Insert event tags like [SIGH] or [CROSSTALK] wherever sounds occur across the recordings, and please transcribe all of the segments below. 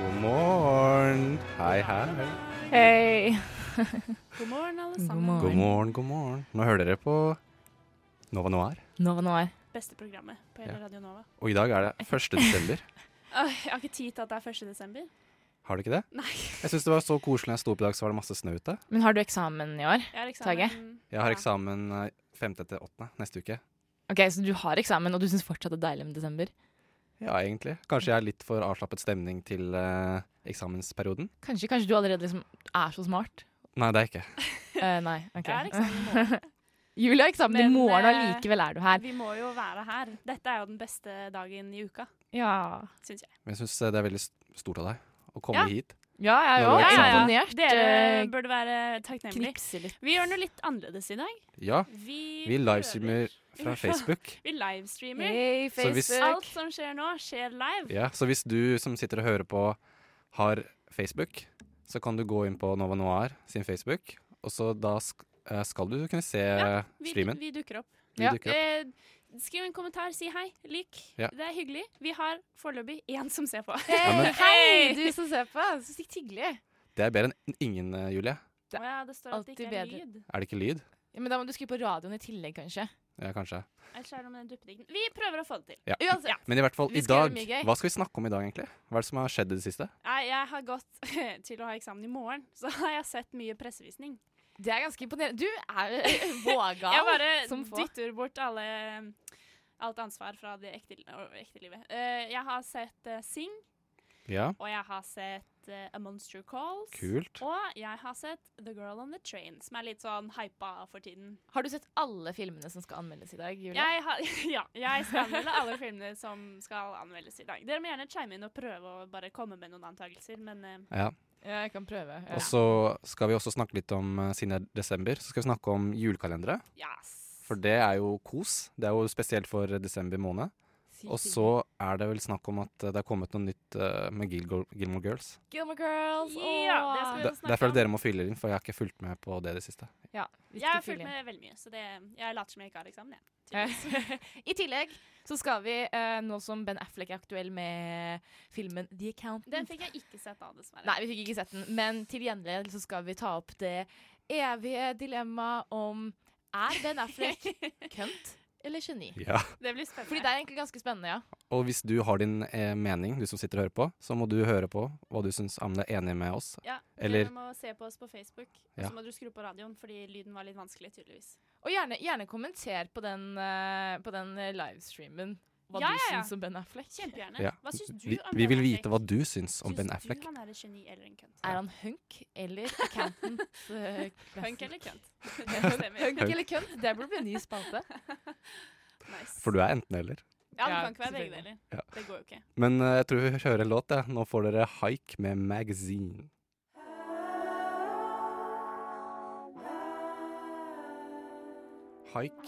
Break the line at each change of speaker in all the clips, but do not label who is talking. God morgen. Hei, hei.
Hei.
[LAUGHS] God morgen, alle
God
sammen.
God
morgen.
morgen, god morgen. Nå hører dere på Nova Noir,
Nova Noir.
Beste programmet på hele
Ja.
Radio Nova.
og i dag er det 1. desember.
Åh, jeg har ikke tid til at det er 1. desember.
Har du ikke det?
Nei,
Jeg syns det var så koselig når jeg sto opp i dag, så var det masse snø ute.
Men har du eksamen i år?
jeg har eksamen.
Tage?
Jeg har
Ja.
eksamen eh, 5. til 8. neste uke.
Ok, Så du har eksamen, og du syns fortsatt det er deilig med desember?
Ja, egentlig. Kanskje jeg er litt for avslappet stemning til eh, eksamensperioden?
Kanskje, kanskje du allerede liksom er så smart?
Nei, det er jeg ikke.
[LAUGHS] Eh, nei. ok.
Jeg har
[LAUGHS]
eksamen i morgen.
Julie har eksamen
Men,
i morgen, og
eh,
likevel er du her.
[LAUGHS] Vi må jo være her. Dette er jo den beste dagen i uka,
Ja,
syns jeg.
Men jeg syns det er veldig st- stort av deg å komme
Ja.
hit.
ja jeg er
Nå
jo
har du eksamen.
imponert.
Dere
eh,
burde være takknemlige.
knipse litt.
Vi gjør noe litt annerledes i dag.
Ja,
Vi,
vi livestreamer
[LAUGHS]
[LAUGHS]
fra
Ja.
Facebook.
Vi livestreamer.
Hey,
Så hvis-
Facebook.
Alt som skjer nå, skjer live.
Ja, så hvis du som sitter og hører på har Facebook, så kan du gå inn på Nova Noir sin Facebook, og så da sk eh, skal du kunne se
Vi,
streamen.
vi dukker opp.
Vi
ja.
dukker opp.
Eh, skriv en kommentar, si hei, lik.
Ja.
Det er hyggelig. Vi har foreløpig én som ser på.
Hei,
Ja, men-
hei, du som ser på. Så sykt hyggelig.
Det er bedre enn ingen, eh, Julie.
Å ja, det står at det
alltid
ikke er
bedre.
lyd.
Er det ikke lyd?
Ja, men da må du skru på radioen i tillegg, kanskje.
Ja, kanskje.
Ellers er det med den duppedikten. Vi prøver å få det til.
Ja.
Uansett.
Men i hvert fall,
Vi
i
skal
dag
gjøre mye gøy.
Hva skal vi snakke om i dag, egentlig? Hva er det som har skjedd i det siste?
Nei, jeg har gått [LAUGHS] til å ha eksamen i morgen, [LAUGHS] så har jeg sett mye pressevisning.
Det er ganske imponerende. Du [LAUGHS] er vågal
Jeg bare
som få.
dytter bort alle, alt ansvar fra det ekte, å, ekte livet. Eh, jeg har sett eh, Sing,
Ja,
og jeg har sett eh, A Monster Calls.
kult.
Og jeg har sett The Girl on the Train, som er litt sånn hypa for tiden.
Har du sett alle filmene som skal anmeldes i dag, Julie?
Jeg har, [LAUGHS] ja, jeg skal anmelde alle filmene som skal anmeldes i dag. Dere må gjerne chime inn og prøve å bare komme med noen antakelser, men eh,
Ja.
Ja, jeg kan prøve. Ja.
Og så skal vi også snakke litt om eh, siden det er desember. Så skal vi snakke om julekalendere,
yes.
for det er jo kos. Det er jo spesielt for eh, desember måned.
Si
Og
til
så er det vel snakk om at eh, det er kommet noe nytt eh, med Gilgo- Gilmore Girls.
Gilmore Girls.
Ja,
åh.
det skal vi
Da-
jo snakke
Derfor
om.
er det dere må fylle inn, for jeg har ikke fulgt med på det i det siste.
Ja,
Jeg har
viktig
fulgt
film.
med veldig mye, så det, jeg later som jeg ikke har eksamen. Jeg.
[LAUGHS] I tillegg så skal vi, eh, nå som Ben Affleck er aktuell med filmen The Accountant
Den fikk jeg ikke sett da, dessverre. [LAUGHS]
Nei, vi fikk ikke sett den, men til gjengjeld så skal vi ta opp det evige dilemmaet om er Ben
[LAUGHS]
Affleck kønt eller geni?
Ja.
Det blir spennende.
Fordi det er egentlig ganske spennende, ja.
Og hvis du har din eh, mening, du som sitter og hører på, så må du høre på hva du syns om det er enig med oss.
ja,
eller-
Dere må se på oss på Facebook, og
Ja.
så må du skru på radioen, fordi lyden var litt vanskelig, tydeligvis.
Og gjerne, gjerne kommenter på den, eh, på den eh, livestreamen hva
Ja,
du
ja, ja.
syns om Ben Affleck.
Kjempegjerne.
Ja.
Hva syns du
Vi,
om
vi
Ben
vil vite
Affleck?
hva du syns om Ben
Syns
Affleck.
du han er et geni eller en kønt?
Er han hunk eller accountant? eh,
Punk eller [LAUGHS] kønt? Det
Hunk
stemmer.
eller kønt? Det burde bli en ny spalte.
Nice.
For du er enten-eller.
Ja, det
Ja,
kan ikke være begge
selvfølgelig.
deler.
Ja.
Det går jo ikke.
Men eh, jeg tror vi hører en låt. Ja. Nå får dere Haik med 'Magazine'. Haik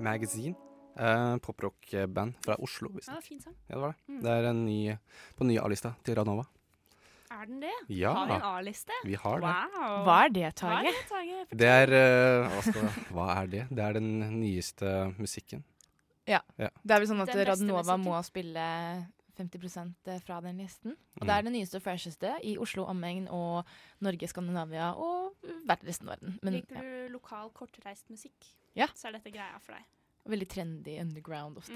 Magazine. Eh, Poprock-band fra Oslo. Hvis
Ja,
det.
det var fin sang.
Ja, det var det.
Mm.
Det er en ny, på den nye A-lista til Radnova.
Er den det? Har vi en
Ja,
A-liste?
vi har det.
Wow.
er det,
Hva er det, Tage?
Det er eh, hva, skal, hva er det? Det er den nyeste musikken.
Det er vel sånn at
Den beste
Radnova
musikken.
må spille 50 fra den listen. Og
Mm.
det er det nyeste og fresheste i Oslo omegn og Norge, Skandinavia og hvert resten av verden. Men
Liker
ja,
du lokal, kortreist musikk,
Ja.
så er dette greia for deg. Mm.
veldig trendy underground ofte.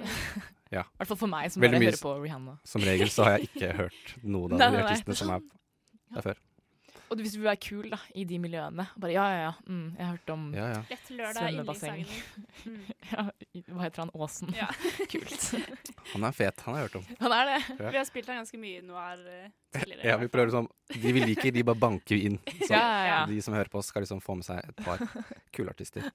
Ja.
I hvert fall for meg, som
Veldig
bare
mye
hører på Rihanna.
Som regel så har jeg ikke
[LAUGHS]
hørt noen av
Nei,
de
nei, nei.
artistene som er der før.
Og hvis du vil være kul da, i de miljøene Bare ja, ja, ja. Mm, jeg har hørt om
Ja, ja.
Lett lørdag i
Svømmebasseng.
Lysagen. Mm.
ja, i- Hva heter han? Åsen.
Ja.
[LAUGHS] Kult.
Han er fet, han har jeg hørt om.
Han er det.
Ja.
Vi har spilt her ganske mye noir eh, tidligere.
Ja, vi prøver sånn. liksom, De vi liker, de bare banker vi inn. Så
Ja, ja, ja.
de som hører på oss, skal liksom få med seg et par kule artister.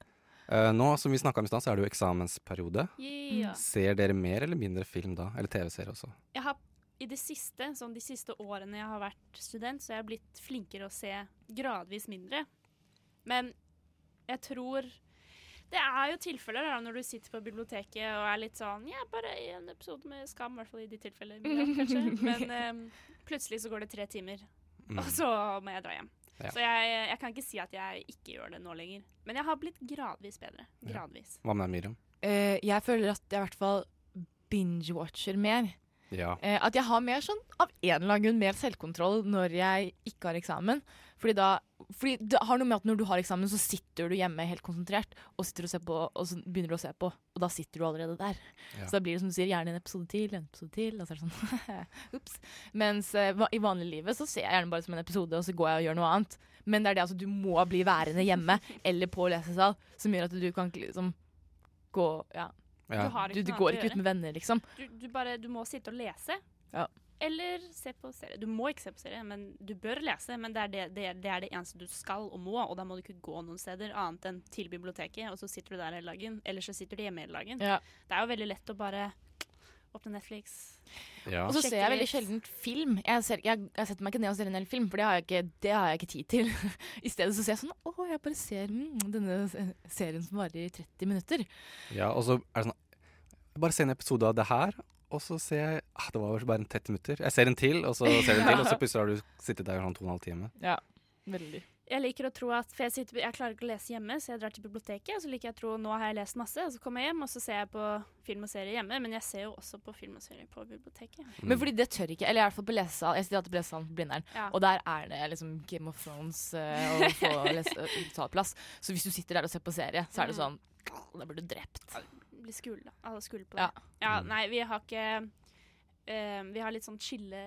Eh, nå som vi snakka om i stad, så er det jo eksamensperiode.
Ja.
Ser dere mer eller mindre film da? Eller TV-serie også?
Jeg har i det siste, sånn de siste årene jeg har vært student, så jeg har jeg blitt flinkere å se gradvis mindre. Men jeg tror Det er jo tilfeller da, når du sitter på biblioteket og er litt sånn Ja, bare en episode med Skam, i hvert fall i de tilfellene. Ja, kanskje. Men eh, plutselig så går det tre timer,
Mm.
og så må jeg dra hjem.
Ja.
Så jeg, jeg kan ikke si at jeg ikke gjør det nå lenger. Men jeg har blitt gradvis bedre. Gradvis.
Hva med deg, Miriam?
Eh, jeg føler at jeg i hvert fall binge-watcher mer.
Ja.
Eh, at jeg har mer sånn, av en eller annen grunn, mer selvkontroll når jeg ikke har eksamen. Fordi da fordi det har noe med at når du har eksamen, så sitter du hjemme helt konsentrert og, sitter og, ser på, og så begynner du å se på, og da sitter du allerede der.
Ja.
Så da blir det som du sier, gjerne en episode til, en episode til, og så er det sånn [LAUGHS] ups. Mens eh, va- i vanlig livet så ser jeg gjerne bare som en episode, og så går jeg og gjør noe annet. Men det er det altså, du må bli værende
[LAUGHS]
hjemme eller på lesesal, som gjør at du kan ikke liksom gå Ja.
ja.
Du har
Du,
ikke
du
noe annet å
går ikke ut
gjøre.
med venner, liksom.
Du, du, bare, du må sitte og lese.
Ja.
Eller se på serie. Du må ikke se på serie, men du bør lese. Men det er det, det, er- det er det eneste du skal og må, og da må du ikke gå noen steder annet enn til biblioteket, og så sitter du der hele dagen. Eller så sitter du hjemme hele dagen.
Ja.
Det er jo veldig lett å bare åpne Netflix.
ja.
Og så
Sjekke
ser jeg veldig
litt.
sjelden film. Jeg, ser, jeg, jeg setter meg ikke ned og ser en hel film, for det har jeg ikke, det har jeg ikke tid til. [LAUGHS] I stedet så ser jeg sånn Å, jeg bare ser mm, denne se- serien som varer i 30 minutter.
ja. Og så er det sånn Jeg bare ser en episode av det her, og så ser jeg ah, Det var vel bare en 30 minutter. Jeg ser en til, og så ser jeg en til, og så plutselig har du sittet der i sånn to og en halv time.
Veldig.
Jeg liker å tro at, for jeg, sitter, jeg klarer ikke å lese hjemme, så jeg drar til biblioteket. Og så liker jeg å tro nå har jeg lest masse, og så kommer jeg hjem og så ser jeg på film og serie hjemme. Men jeg ser jo også på film og serie på biblioteket.
Mm.
Men fordi det tør ikke. Eller i hvert fall på lesesal. Jeg sitter alltid på lesesalen på Blindern,
Ja.
og der er det liksom Game of Thrones eh, å få lese- utaleplass. Så hvis du sitter der og ser på serie, så er det sånn Da blir du drept.
blir skule, da. Alle skule på det.
Ja.
Ja.
Mm.
nei, vi har ikke eh, Vi har litt sånn chille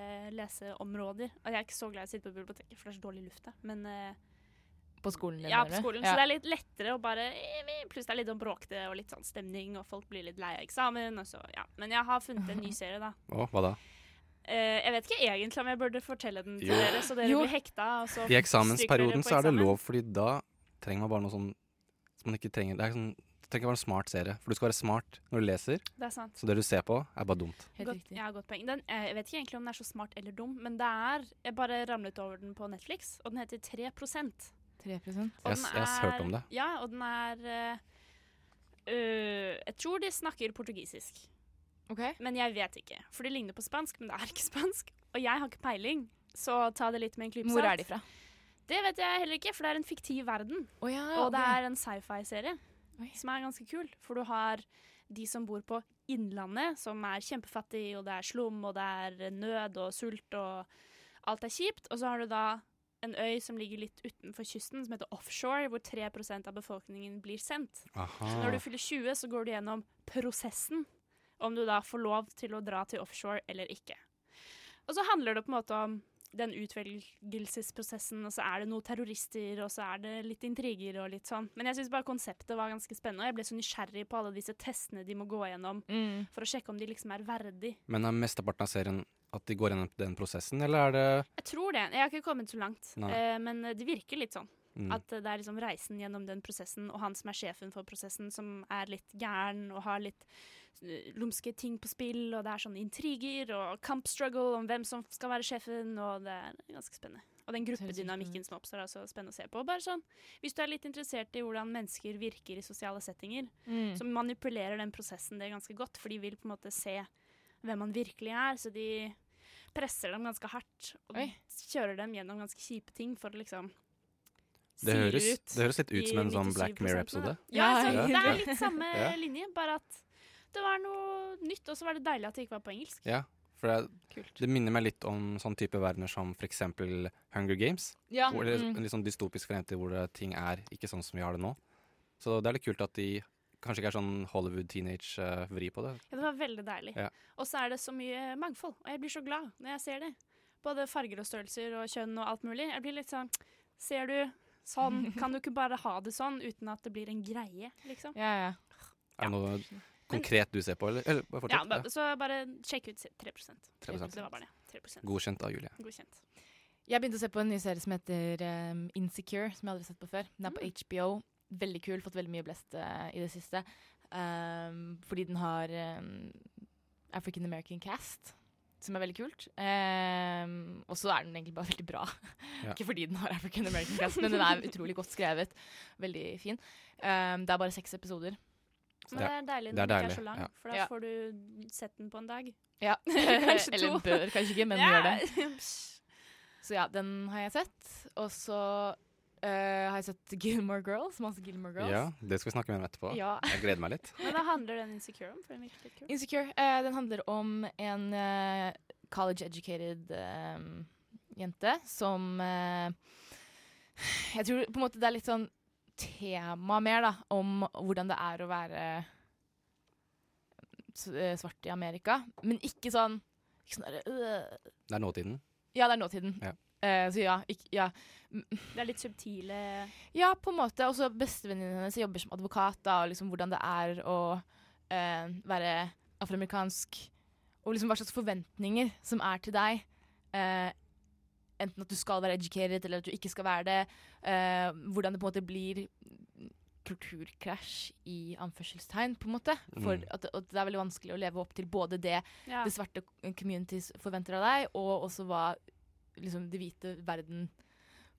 leseområder. Og jeg er ikke så glad i å sitte på biblioteket, for det er så dårlig luft der. Men eh,
På skolen din.
ja, på
mener du?
skolen,
Ja.
så det er litt lettere å bare eh, vi- Pluss det er litt sånn bråkete og litt sånn stemning, og folk blir litt lei av eksamen, og så Ja. Men jeg har funnet en ny serie, da.
Mm. Å, hva da?
Eh, jeg vet ikke egentlig om jeg burde fortelle den til
Jo.
dere, så dere
Jo.
blir hekta. altså. Og så
I
stryker dere
eksamensperioden
på
så er det
eksamen.
lov, fordi da trenger man bare noe sånn som man ikke trenger Det, er ikke sånn, det trenger ikke være en smart serie, for du skal være smart når du leser,
Det er sant.
så det du ser på, er bare dumt.
Helt
Godt,
riktig.
ja, godt poeng. Den, eh, jeg vet ikke egentlig om den er så smart eller dum, men det er Jeg bare ramlet over den på Netflix, og den heter 3
3
Og
Jeg
den
s- jeg har hørt om det.
Ja, og den er eh, øh, Jeg tror de snakker portugisisk,
OK.
men jeg vet ikke. For det ligner på spansk, men det er ikke [LAUGHS] spansk. Og jeg har ikke peiling, så ta det litt med en klype
Hvor er de fra?
Det vet jeg heller ikke, for det er en fiktiv verden.
Å ja.
og det
ok.
er en sci-fi-serie
Oi.
som er ganske kul, for du har de som bor på Innlandet, som er kjempefattig, og det er slum, og det er nød og sult, og alt er kjipt. Og så har du da en øy som ligger litt utenfor kysten, som heter offshore, hvor 3 av befolkningen blir sendt. Så når
Aha.
du fyller 20, så går du gjennom prosessen, om du da får lov til å dra til offshore eller ikke. Og så handler det på en måte om den utvelgelsesprosessen, og så er det noen terrorister, og så er det litt intriger og litt sånn. Men jeg syns bare konseptet var ganske spennende, og jeg ble så nysgjerrig på alle disse testene de må gå gjennom
mm.
for å sjekke om de liksom er verdig.
Men er mesteparten av serien at de går gjennom den prosessen, eller er det
Jeg tror det. Jeg har ikke kommet så langt,
Nei.
eh, men det virker litt sånn.
mm.
At eh, det er liksom reisen gjennom den prosessen, og han som er sjefen for prosessen, som er litt gæren og har litt eh, lumske ting på spill, og det er sånne intriger og kampstruggle om hvem som skal være sjefen, og det er ganske spennende. Og den
høres ut som-
gruppedynamikken som oppstår, er også spennende å se på. Bare sånn, hvis du er litt interessert i hvordan mennesker virker i sosiale settinger,
Mm.
så manipulerer den prosessen det ganske godt, for de vil på en måte se hvem man virkelig er, så de presser dem ganske hardt, og
Oi.
kjører dem gjennom ganske kjipe ting for å liksom
det,
sile
høres,
ut
det høres litt ut som en
de
sånn
97%
Black Mirror-episode.
da. Ja,
Ja,
sånn,
ja.
det er litt samme
Ja.
linje, bare at det var noe nytt, og så var det deilig at det ikke var på engelsk.
Ja, for det,
Kult.
det minner meg litt om sånn type verdener som for eksempel Hunger Games.
Ja.
Hvor det er
mm.
en litt sånn dystopisk fremtid hvor det, ting er ikke sånn som vi har det nå. Så det er litt kult at de kanskje ikke er sånn Hollywood-teenage-vri på det.
Ja, det var veldig deilig.
Ja.
Og så er det så mye mangfold, og jeg blir så glad når jeg ser det. Både farger og størrelser og kjønn og alt mulig. Jeg blir litt sånn Ser du?
[LAUGHS]
Sånn. Kan du ikke bare ha det sånn uten at det blir en greie, liksom?
ja, ja.
Er det noe konkret du ser på, eller? eller bare
Ja,
fortsett.
ba- så bare sjekk ut 3
3%.
Det var bare det. 3
Godkjent av Julie.
Godkjent.
Jeg begynte å se på en ny serie som heter um, Insecure, som jeg aldri har sett på før. Den er på HBO. Veldig kul, fått veldig mye blest eh, i det siste. Ehm, Um, fordi den har um, African American ehm, cast. som er veldig kult. Ehm, og så er den egentlig bare [LAUGHS] veldig bra.
Ja.
Ikke fordi den har African American cast, men den er utrolig godt skrevet. Veldig fin. Ehm, det er bare seks episoder.
Men
Det
det
er-
er deilig
det
når den
er
ikke
deilig,
er så lang,
ja.
for da
Ja.
får du sett den på en dag.
[LAUGHS] Ja.
Kanskje
Eller
to.
bør kanskje ikke, men gjør det.
[LAUGHS]
Så ja, den har jeg sett. Og så eh, har jeg sett Gilmore Girls, masse Gilmore Girls.
Ja, det skal vi snakke mer om etterpå.
Ja. [LAUGHS]
Jeg gleder meg litt.
Men hva handler den insecure om? For den virker litt kul.
Insecure. eh, den handler om en eh, college-educated eh, jente som eh, [SIGHS] Jeg tror på en måte det er litt sånn tema mer, da, om hvordan det er å være eh, s- eh, svart i Amerika. Men ikke sånn, ikke sånn der, øh.
Det er nåtiden.
Ja, det er nåtiden.
Ja.
Eh, så ja, ikk- ja.
Det er litt subtile
Ja, på en måte. Og så bestevenninnen hennes jobber som advokat, da, og liksom hvordan det er å eh, være afroamerikansk. Og liksom hva slags forventninger som er til deg. Eh, enten at du skal være educated, eller at du ikke skal være det. Eh, hvordan det på en måte blir kulturkrasj i anførselstegn, på en måte. For
Mm.
at, at det er veldig vanskelig å leve opp til både det
ja.
det svarte communities forventer av deg, og også hva liksom, det hvite verden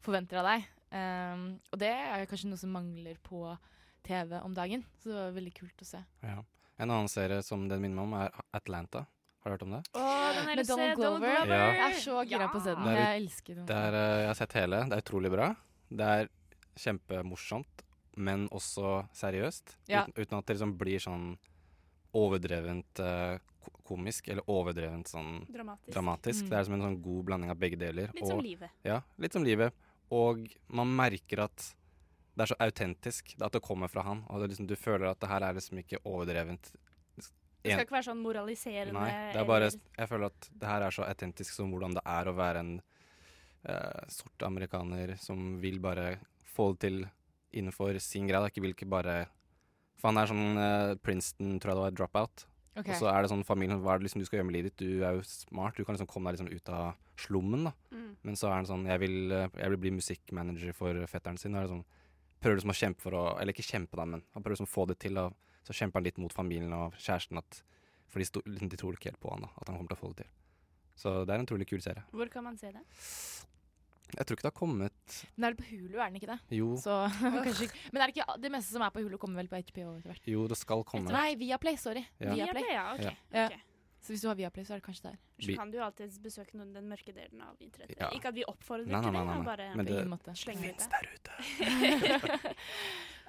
forventer av deg. Um, og det er kanskje noe som mangler på TV om dagen, så det var veldig kult å se.
Ja. En annen serie som den minner meg om, er Atlanta. Har du hørt om det?
den
Med Donald Glover.
Ja.
Jeg er så gira på å se den.
Det er
Jeg elsker den.
det
Mm.
er, eh, jeg har sett hele. Det er utrolig bra. Det er kjempemorsomt, men også seriøst.
Ja.
Uten, uten at det liksom blir sånn overdrevent eh, ko- komisk, eller overdrevent sånn
Dramatisk.
dramatisk.
Mm.
Det er som en sånn god blanding av begge deler.
Litt som
og-
livet.
Ja, litt som livet. Og man merker at det er så autentisk, at det kommer fra han. Og det er liksom, du føler at det her er liksom ikke overdrevent.
Det
En-
skal ikke være sånn moraliserende.
Nei, det er bare,
eller-
jeg føler at det her er så autentisk som hvordan det er å være en eh, sort amerikaner som vil bare få det til innenfor sin greie, da, ikke vil ikke bare For han er sånn eh, Princeton, tror jeg det var, dropout.
Ok.
Og så er det sånn familien Hva er det liksom du skal gjøre med livet ditt? Du er jo smart, du kan liksom komme deg liksom ut av slummen, da.
Mm.
Men så er han sånn Jeg vil, eh, jeg vil bli musikkmanager for fetteren sin. Og er det sånn, prøver liksom å kjempe for å Eller ikke kjempe, da, men han prøver liksom å få det til. Og så kjemper han litt mot familien og kjæresten, at, for de, sto, liksom, de tror ikke helt på han da at han kommer til å få det til. Så det er en utrolig kul serie.
Hvor kan man se det?
Jeg tror ikke det har kommet
Den er vel på Hulu, er den ikke det?
Jo,
Så, [LAUGHS] kanskje ikke. Men er det ikke det meste som er på Hulu, kommer vel på HBO etter hvert?
jo det skal komme.
Nei, Viaplay, sorry.
Ja.
Viaplay.
Ja, ok.
Ja.
ok.
Så hvis du har Viaplay, så er det kanskje der.
Så
Vi-
kan du jo alltid besøke noen den mørke delen av internettet.
Ja.
Ikke at vi oppfordrer
Nei, nei,
til
nei,
det,
nei,
men
nei.
bare
Men
På
det-
ingen måte.
slenge ut det.
Der ute.
[LAUGHS]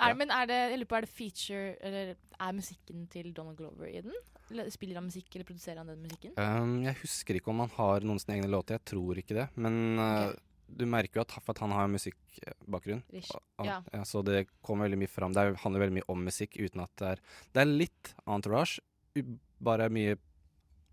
Er, men er det, jeg lurer på, er det feature, eller er musikken til Donald Glover i den? Eller Spiller han musikk, eller produserer han den musikken?
Um, jeg husker ikke om han har noen sine egne låter. Jeg tror ikke det. Men eh, du merker jo at, for at han har musikkbakgrunn.
Rish.
Og-
Ja.
Ja, så det kommer veldig mye fram. Det er- handler veldig mye om musikk uten at det er Det er litt entourage, u- bare mye,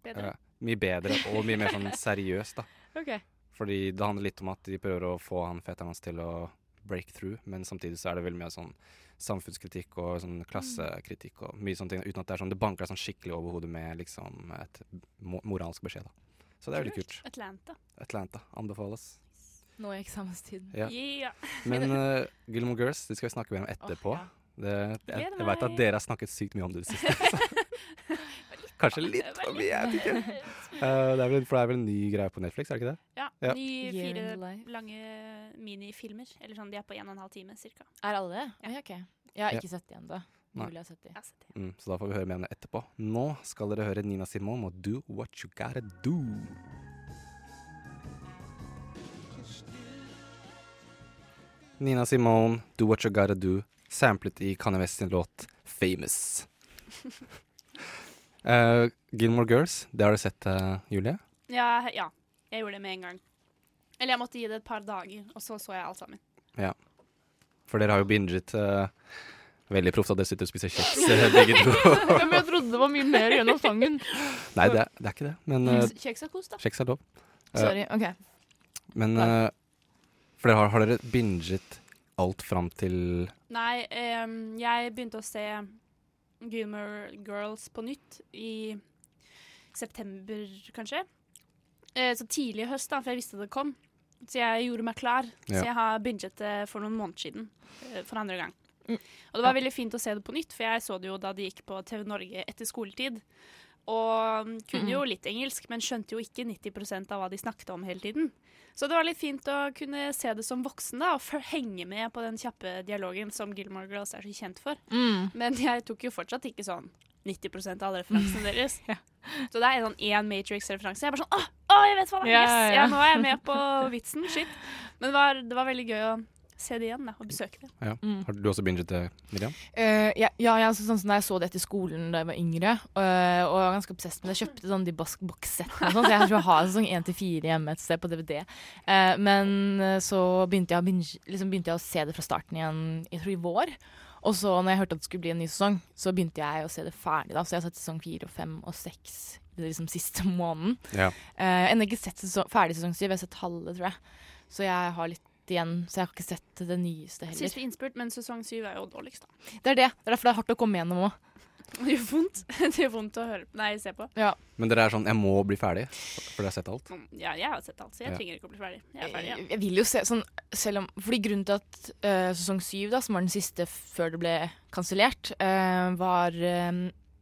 Bedre.
eh, mye bedre og mye mer sånn seriøst, da.
Ok.
Fordi det handler litt om at de prøver å få han fetteren hans til å break through, men samtidig så er det veldig mye sånn samfunnskritikk og sånn klassekritikk og mye sånne ting, uten at det er sånn Det banker deg sånn skikkelig over hodet med liksom et mo moralsk beskjed, da. Så det er veldig kult.
Atlanta.
Atlanta anbefales.
Nå i eksamenstiden.
Ja.
Yeah.
Men eh, Gilmore Girls, det skal vi snakke mer om etterpå.
ja.
Det, jeg
Gleder
jeg veit
meg.
at
dere
dere har snakket sykt mye om det i det siste. Kanskje litt
[LAUGHS]
for mye, jeg vet ikke. Eh, det er vel, for det er vel en ny greie på Netflix, er det ikke det?
Ja.
Ja.
Ny
Year in
fire
the life.
lange minifilmer. Eller sånn, de er på en og en halv time cirka.
Er alle det? Oi, ok. Jeg har
Ja.
ikke sett de ennå.
Nei.
Mulig jeg har sett de.
Jeg har sett det.
Mm, så da får vi høre mer om det etterpå. Nå skal dere høre Nina Simone og Do What You Gotta Do. Nina Simone, Do What You Gotta Do, samplet i Kanye West sin låt Famous. Eh, Gilmore Girls, det har du sett, eh, Julie?
Ja, ja, jeg gjorde det med en gang. Eller jeg måtte gi det et par dager, og så så jeg alt sammen.
For dere har jo binget eh, veldig proft at dere sitter og spiser kjeks eh, begge to.
[LAUGHS] men jeg trodde det var mye mer gjennom sangen.
Nei, det er, det er ikke det, men eh,
Kjeks og kos, da.
kjeks er lov.
Sorry. ok.
Men eh, For dere har, har dere binget alt fram til
Nei, ehm, jeg begynte å se Gilmore Girls på nytt i september, kanskje. Eh, så tidlig i høst, da, for jeg visste det kom. Så jeg gjorde meg klar.
Ja.
Så jeg har binget det for noen måneder siden. eh, For andre gang. Og det var veldig fint å se det på nytt, for jeg så det jo da det gikk på TV Norge etter skoletid. Og mm, kunne jo litt engelsk, men skjønte jo ikke 90 av hva de snakket om hele tiden. Så det var litt fint å kunne se det som voksen da, og føl- henge med på den kjappe dialogen som Gilmore Girls er så kjent for. Men jeg tok jo fortsatt ikke sånn 90 av alle referansene deres. Så det er sånn én Matrix-referanse. Jeg er bare sånn Å, å, jeg vet hva det er!
Ja,
Yes!
ja.
Ja, nå er jeg med på vitsen. Shit. Men det var, det var veldig gøy å se det igjen da, og besøke det.
Ja.
Mm.
Har du også binget det, Miriam?
Eh, ja, ja, ja, så sånn som da jeg så det etter skolen da jeg var yngre, eh, og jeg var ganske obsess med det. Jeg kjøpte sånn de bask- bokssettene og sånn, så jeg tror jeg har sesong 1-4 hjemme et sted på DVD. Eh, men eh, så begynte jeg, å binge, liksom begynte jeg å se det fra starten igjen, jeg tror i vår. Og så når jeg hørte at det skulle bli en ny sesong, så begynte jeg å se det ferdig da. Så jeg har sett sesong 4 og 5 og 6 liksom siste [LAUGHS] måneden.
Ja.
Eh, jeg har ennå ikke sett sesong, ferdig sesong 7, jeg har sett halve, tror jeg. Så jeg har litt igjen, så jeg har ikke sett det nyeste heller.
Siste innspurt, men sesong syv er jo dårligst, da. [LAUGHS]
Det er det. Det er derfor det er hardt å komme gjennom òg.
Det gjør vondt. [LAUGHS] Det gjør vondt å høre Nei, se på.
Men dere er sånn 'jeg må bli ferdig', for dere har sett alt?
Sånn, Ja, jeg har sett alt, så jeg
Ja.
trenger ikke å bli ferdig. Jeg er ferdig, ja.
Jeg jeg vil jo se sånn, selv om Fordi grunnen til at eh, sesong syv, da, som var den siste f- før det ble kansellert, eh, var eh,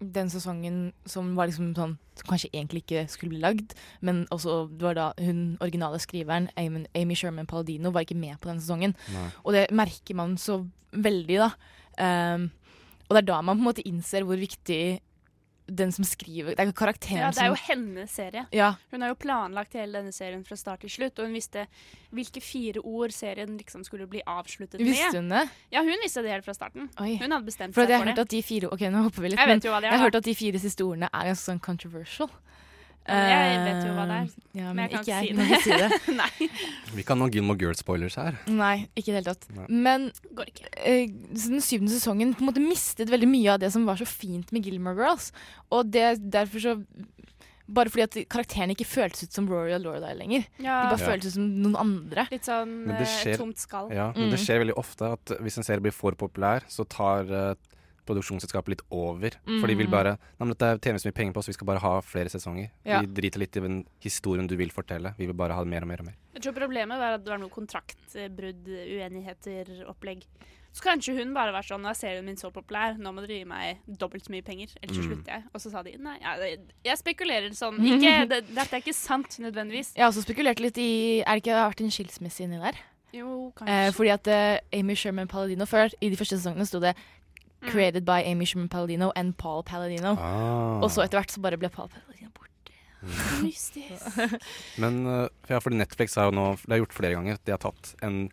den sesongen som var liksom sånn Som kanskje egentlig ikke skulle bli lagd, men også det var da hun originale skriveren, Amy, Amy Sherman Paladino, var ikke med på den sesongen.
Nei.
Og det merker man så veldig, da. Ehm, og det er da man på en måte innser hvor viktig den som skriver Det er karakteren
Ja, det er jo
som
hennes serie.
ja,
Hun har jo planlagt hele denne serien fra start til slutt, og hun visste hvilke fire ord serien liksom skulle bli avsluttet med.
Visste hun det?
Ja, hun visste det helt fra starten.
Oi.
Hun hadde bestemt
For at
seg
jeg har
for
hørt
det.
at de fire Ok, nå hopper vi litt.
Jeg
men
vet jo hva det
jeg har
er,
hørt at de fire siste ordene er ganske sånn controversial.
Jeg vet jo hva det er,
Eh, Ja, men,
men jeg kan
ikke jeg.
ikke
Kan
si
ikke si
[LAUGHS]
det.
da. Nei,
Vi kan ha noen Gilmore Girls-spoilers her.
Nei, ikke i det hele tatt.
Nei.
Men
går ikke.
eh, så den syvende sesongen på en måte mistet veldig mye av det som var så fint med Gilmore Girls. Og det derfor så Bare fordi at karakterene ikke føltes ut som Rory og Lorelei lenger.
Ja,
De bare
Ja.
føltes ut som noen andre.
litt sånn
Men det
eh,
skjer-
tomt skall.
Ja, men
Mm.
det skjer veldig ofte at hvis en serie blir for populær, så tar eh, produksjonsselskapet litt over. For de
Mm.
vil bare Nei, men dette er TV så mye penger på, så vi skal bare ha flere sesonger.
Ja.
Vi driter litt i den historien du vil fortelle. Vi vil bare ha mer og mer og mer.
Jeg tror problemet var at det var noe kontraktbrudd, uenigheter, opplegg. Så kanskje hun bare var sånn Nå er serien min så populær, nå må dere gi meg dobbelt så mye penger, ellers så
Mm.
slutter jeg. Og så sa de nei. Ja, det- jeg spekulerer
[LAUGHS]
sånn. Ikke, det, dette er ikke sant nødvendigvis.
Jeg har også spekulert litt i Er det ikke det har vært en skilsmisse inni der?
Jo,
Eh,
kanskje.
fordi at eh, Amy Sherman Paladino før, i de første sesongene, sto det
Mm.
'Created by Amy Sherman Paladino and Paul Paladino'. Og så etter hvert så bare ble Paul Paladino borte.
[LAUGHS] Mystisk.
[LAUGHS] Men eh, for ja, fordi Netflix har jo nå Det har gjort flere ganger. at De har tatt en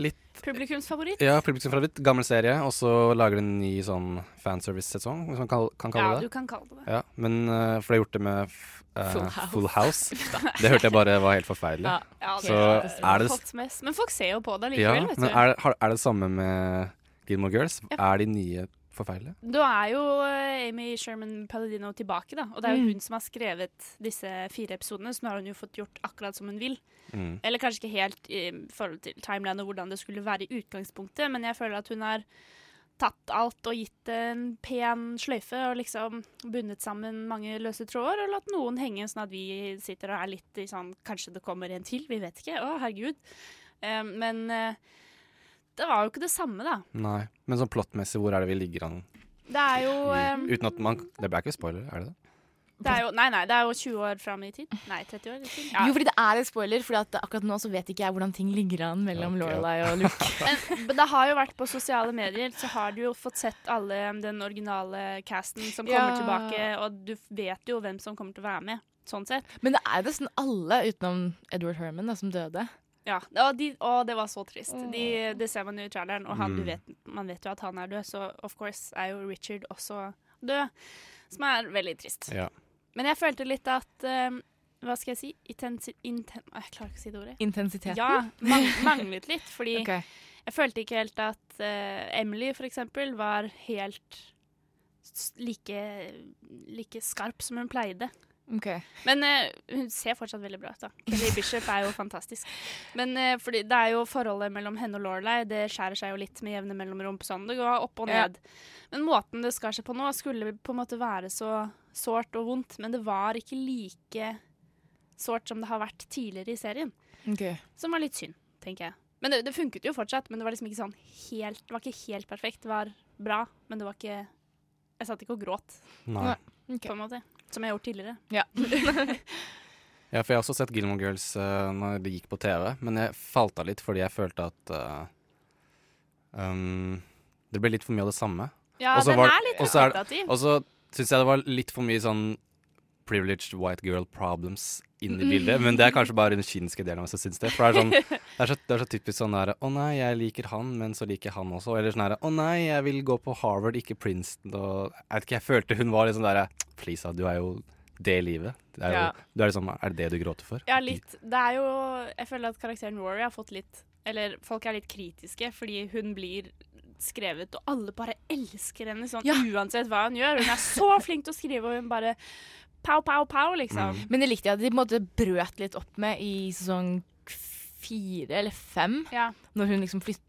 litt
Publikumsfavoritt.
ja, publikumsfavoritt, gammel serie, og så lager de en ny sånn fanservice-sesong, hvis man kan, kan kalle
Ja,
det
du
det.
kan kalle det det.
Ja, men eh, for de har gjort det med f- eh,
Full House.
Full
[LAUGHS]
House. det hørte jeg bare var helt forferdelig.
Ja.
Ja, det
Så er det-
fått mest. Men folk ser jo på det
Ja,
likevel, vet
men
du.
er, det- har- er det samme med Gilmore Girls? Er de nye forferdelige?
Da er jo eh, Amy Sherman Paladino tilbake, da. Og det er
Mm.
jo hun som har skrevet disse fire episodene, så nå har hun jo fått gjort akkurat som hun vil.
Mm.
Eller kanskje ikke helt i forhold til timeline og hvordan det skulle være i utgangspunktet, men jeg føler at hun har tatt alt og gitt det en pen sløyfe og liksom bundet sammen mange løse tråder og latt noen henge, sånn at vi sitter og er litt i sånn Kanskje det kommer en til, vi vet ikke. Å, herregud. Eh, men eh, det var jo ikke det samme, da.
Nei. Men sånn plottmessig, hvor er det vi ligger an?
Det er jo eh,
Uten at man Det ble ikke spoiler, er det det?
Det er jo, nei, nei, det er jo 20 år fram i tid. Nei, 30 år i tid. Ja.
Jo, fordi det er litt spoiler, for akkurat nå så vet ikke jeg hvordan ting ligger an mellom
Ja, ok, ja.
Lorelei og Luke.
[LAUGHS] Men det har jo vært på sosiale medier, så har du jo fått sett alle um, den originale casten som kommer
Ja.
tilbake, og du vet jo hvem som kommer til å være med. Sånn sett.
[LAUGHS] Men det er jo nesten alle utenom Edward Herman da, som døde.
Ja, og, de, og det var så trist. De, det ser man jo i traileren, og han, du vet, man vet jo at han er død, så of course er jo Richard også død, som er veldig trist.
Ja.
Men jeg følte litt at eh, Hva skal jeg si? Intensi... Inten, jeg klarer ikke å si det ordet.
Intensiteten.
Ja, man, manglet litt, fordi
[LAUGHS] Ok.
Jeg følte ikke helt at eh, Emily, for eksempel, var helt s- like, like skarp som hun pleide.
Ok.
Men eh, hun ser fortsatt veldig bra ut, da. Kelly Bishop er jo fantastisk. Men eh, fordi det er jo forholdet mellom henne og Lorelei, det skjærer seg jo litt med jevne mellomrom på sånn. Det går opp og
Ja.
ned. Men måten det skar seg på nå, skulle på en måte være så sårt og vondt, men det var ikke like sårt som det har vært tidligere i serien.
ok.
Som var litt synd, tenker jeg. Men det, det funket jo fortsatt, men det var liksom ikke sånn helt Det var ikke helt perfekt. Det var bra, men det var ikke Jeg satt ikke og gråt,
Nei.
Ok.
på en måte. Som jeg har gjort tidligere.
Ja. [LAUGHS]
Ja, for jeg har også sett Gilmore Girls eh, når det gikk på TV, men jeg falt av litt fordi jeg følte at eh, um, det ble litt for mye av det samme.
Ja,
Og så
den
var-
er litt
og så er det-
repetitiv.
Og så syns jeg det var litt for mye sånn privileged white girl problems inn i bildet, men det er kanskje bare den kyniske delen av meg som syns det. For det er, sånn, det, er så, det er så typisk sånn derre Å nei, jeg liker han, men så liker jeg han også. Eller sånn derre Å nei, jeg vil gå på Harvard, ikke Princeton og Jeg vet ikke, jeg følte hun var litt sånn derre Please, da, du er jo det livet. Det er, jo,
Ja.
du er, liksom, er det det du gråter for?
Ja, litt. Det er jo Jeg føler at karakteren Rory har fått litt Eller folk er litt kritiske fordi hun blir skrevet, og alle bare elsker henne sånn uansett hva hun gjør. Hun er så flink til å skrive, og hun bare pow, pow, pow, liksom.
Mm.
Men det likte jeg at de på en måte brøt litt opp med i sesong fire eller fem,
Ja.
når hun liksom flytter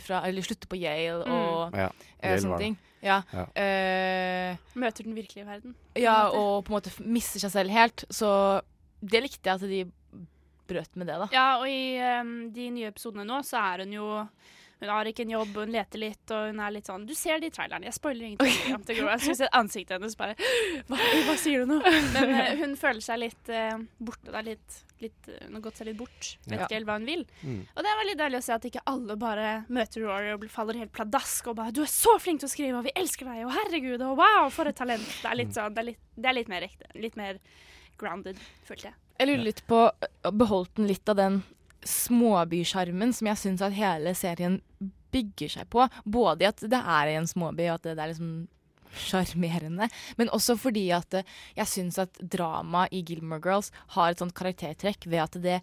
fra Eller slutter på Yale og
Ja.
eh,
Yale var
sånne
det.
ting. Ja.
Ja.
Eh,
Møter den virkelige verden.
ja,
På en måte.
og på en måte f- mister seg selv helt. Så det likte jeg at de brøt med det, da.
Ja, og i ehm, de nye episodene nå, så er hun jo Hun har ikke en jobb, hun leter litt, og hun er litt sånn Du ser det i traileren. Jeg spoiler ingenting. [LAUGHS] Miriam, til Grow. Jeg skulle sett ansiktet hennes bare hva, hva sier du nå? Men [LAUGHS] eh, hun føler seg litt eh, borte. Det er litt, litt eh, Hun har gått seg litt bort. Vet
Ja.
ikke helt hva hun vil.
Mm.
Og det er veldig deilig å se at ikke alle bare møter Rory og blir- faller helt pladask og bare 'Du er så flink til å skrive, og vi elsker deg, og herregud, og wow, for et talent'. Det er litt sånn Det er litt, det er litt mer ekte. Litt mer grounded, følte jeg.
Jeg lurer litt på Beholdt den litt av den småbysjarmen som jeg syns at hele serien bygger seg på. Både i at det er i en småby, og at det, det er liksom sjarmerende. Men også fordi at eh, jeg syns at drama i Gilmore Girls har et sånt karaktertrekk ved at det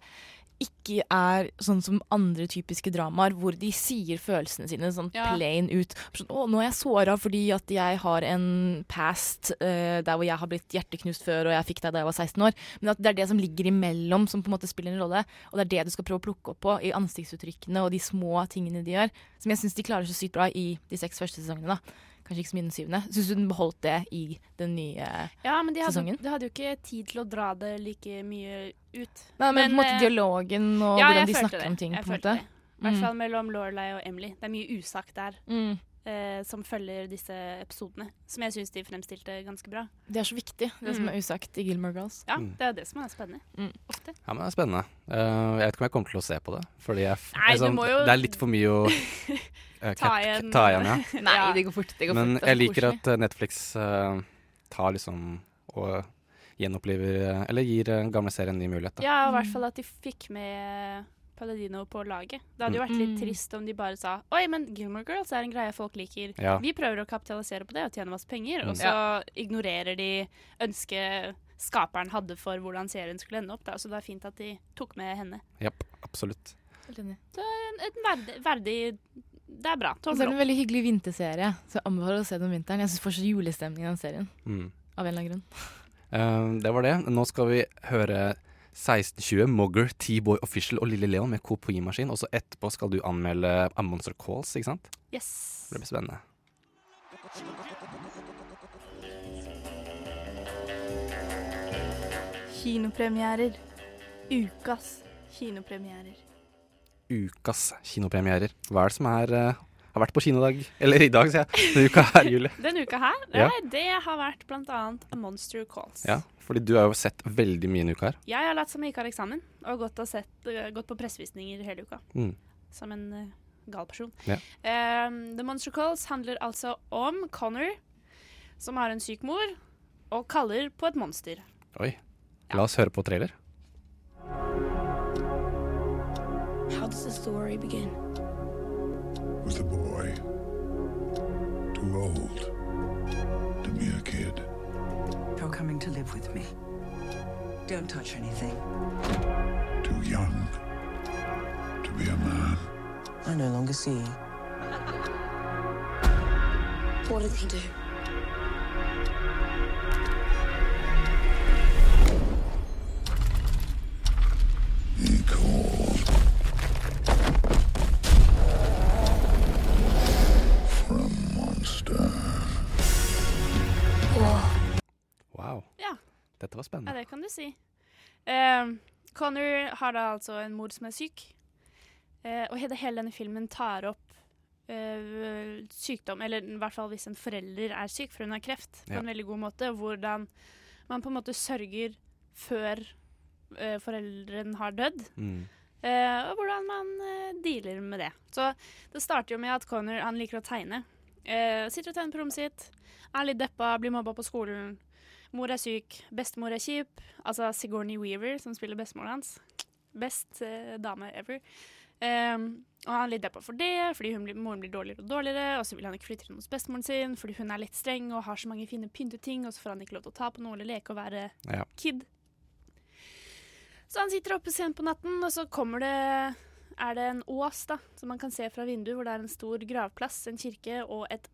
ikke er sånn som andre typiske dramaer, hvor de sier følelsene sine sånn
Ja.
plain ut. Sånn, 'Å, nå er jeg såra fordi at jeg har en past eh, der hvor jeg har blitt hjerteknust før, og jeg fikk deg da jeg var 16 år'. Men at det er det som ligger imellom som på en måte spiller en rolle, og det er det du skal prøve å plukke opp på i ansiktsuttrykkene og de små tingene de gjør, som jeg syns de klarer så sykt bra i de seks første sesongene. da. Kanskje ikke så mye den syvende. Syns du den beholdt det i den nye
Ja, men de hadde,
sesongen.
de hadde jo ikke tid til å dra det like mye ut.
Nei, men, på en måte
eh,
dialogen og
ja, jeg
hvordan de
følte
snakker
det.
om ting.
Jeg
på en
følte
måte.
det. I hvert
Mm.
fall mellom Lorelai og Emily. Det er mye usagt der
Mm.
eh, som følger disse episodene. Som jeg syns de fremstilte ganske bra.
Det er så viktig, det som er usagt i Gilmore Girls.
Ja, Det er jo det som er spennende.
Mm.
Ofte.
Ja, men det er spennende. Eh, jeg vet ikke om jeg kommer til å se på det. Fordi jeg, f-
Nei,
jeg
du
sånn,
må jo
Det er litt for mye å
[LAUGHS]
eh,
Ta
cut-
igjen. eh,
ta igjen
[LAUGHS]
ja.
Nei, det går fort. Det går
Men
fort,
jeg liker at eh, Netflix eh, tar liksom og gjenoppliver eh, Eller gir eh, gamle serien en ny mulighet. Da.
Ja, og i hvert fall at de fikk med Paladino på laget. Det hadde jo vært litt trist om de bare sa Oi, men Gilmore Girls er en greie folk liker.
Ja.
Vi prøver å kapitalisere på det og tjene masse penger. Og
Mm.
så ignorerer de ønsket skaperen hadde for hvordan serien skulle ende opp. Da. Så det er fint at de tok med henne.
Japp, absolutt.
En, en verdig, verdig Det er bra.
Og så er
Tommel
det
opp.
en veldig hyggelig vinterserie, så jeg anbefaler å se den om vinteren. Jeg syns fortsatt julestemning i den serien.
Mm.
Av en eller annen grunn.
Eh, det var det. Nå skal vi høre 1620, Mogger, T-Boy Official og Lille Leon med Kopimaskin. Og så etterpå skal du anmelde A Monster Calls, ikke sant?
Yes.
Det blir spennende.
Kinopremierer. Ukas kinopremierer.
ukas kinopremierer. Hva er det som er eh, har vært på kinodag? Eller i dag, sier jeg. Denne uka
[LAUGHS]
her, Julie.
Denne uka her,
Ja.
nei, det har vært blant annet A Monster Calls.
Ja, fordi du har jo sett veldig mye denne uka her.
Jeg har latt som jeg ikke har eksamen, og gått, og sett, øh, gått på pressevisninger hele uka.
Mm.
Som en øh, gal person.
Ja.
Ehm, The Monster Calls handler altså om Connor, som har en syk mor, og kaller på et monster.
Oi. La oss høre på trailer.
How does the story begin?
was a boy. Too old to be a kid.
You're coming to live with me. Don't touch anything.
Too young to be a man.
I no longer see you.
What did he do?
He called for a monster.
Wow.
Ja.
Dette var
Ja,
spennende.
det kan du si. Ehm, Connor har da altså en mor som er syk, eh, og hele, hele denne filmen tar opp eh, sykdom, eller i hvert fall hvis en forelder er syk, for hun har kreft, på
Ja.
en veldig god måte, og hvordan man på en måte sørger før eh, foreldren har dødd.
Mm.
Eh, og hvordan man eh, dealer med det. Så det starter jo med at Connor han liker å tegne. Eh, sitter og tegner på rommet sitt, er litt deppa, blir mobba på skolen. Mor er syk, bestemor er kjip. Altså Sigourney Weaver, som spiller bestemoren hans. Best eh, dame ever. Eh, og han er litt deppa for det, fordi hun blir, moren blir dårligere og dårligere. Og så vil han ikke flytte inn hos bestemoren sin, fordi hun er litt streng og har så mange fine pynteting, og så får han ikke lov til å ta på noe eller leke og være
Ja.
kid. Så han sitter oppe sent på natten, og så kommer det Er det en ås, da, som man kan se fra vinduet, hvor det er en stor gravplass, en kirke og et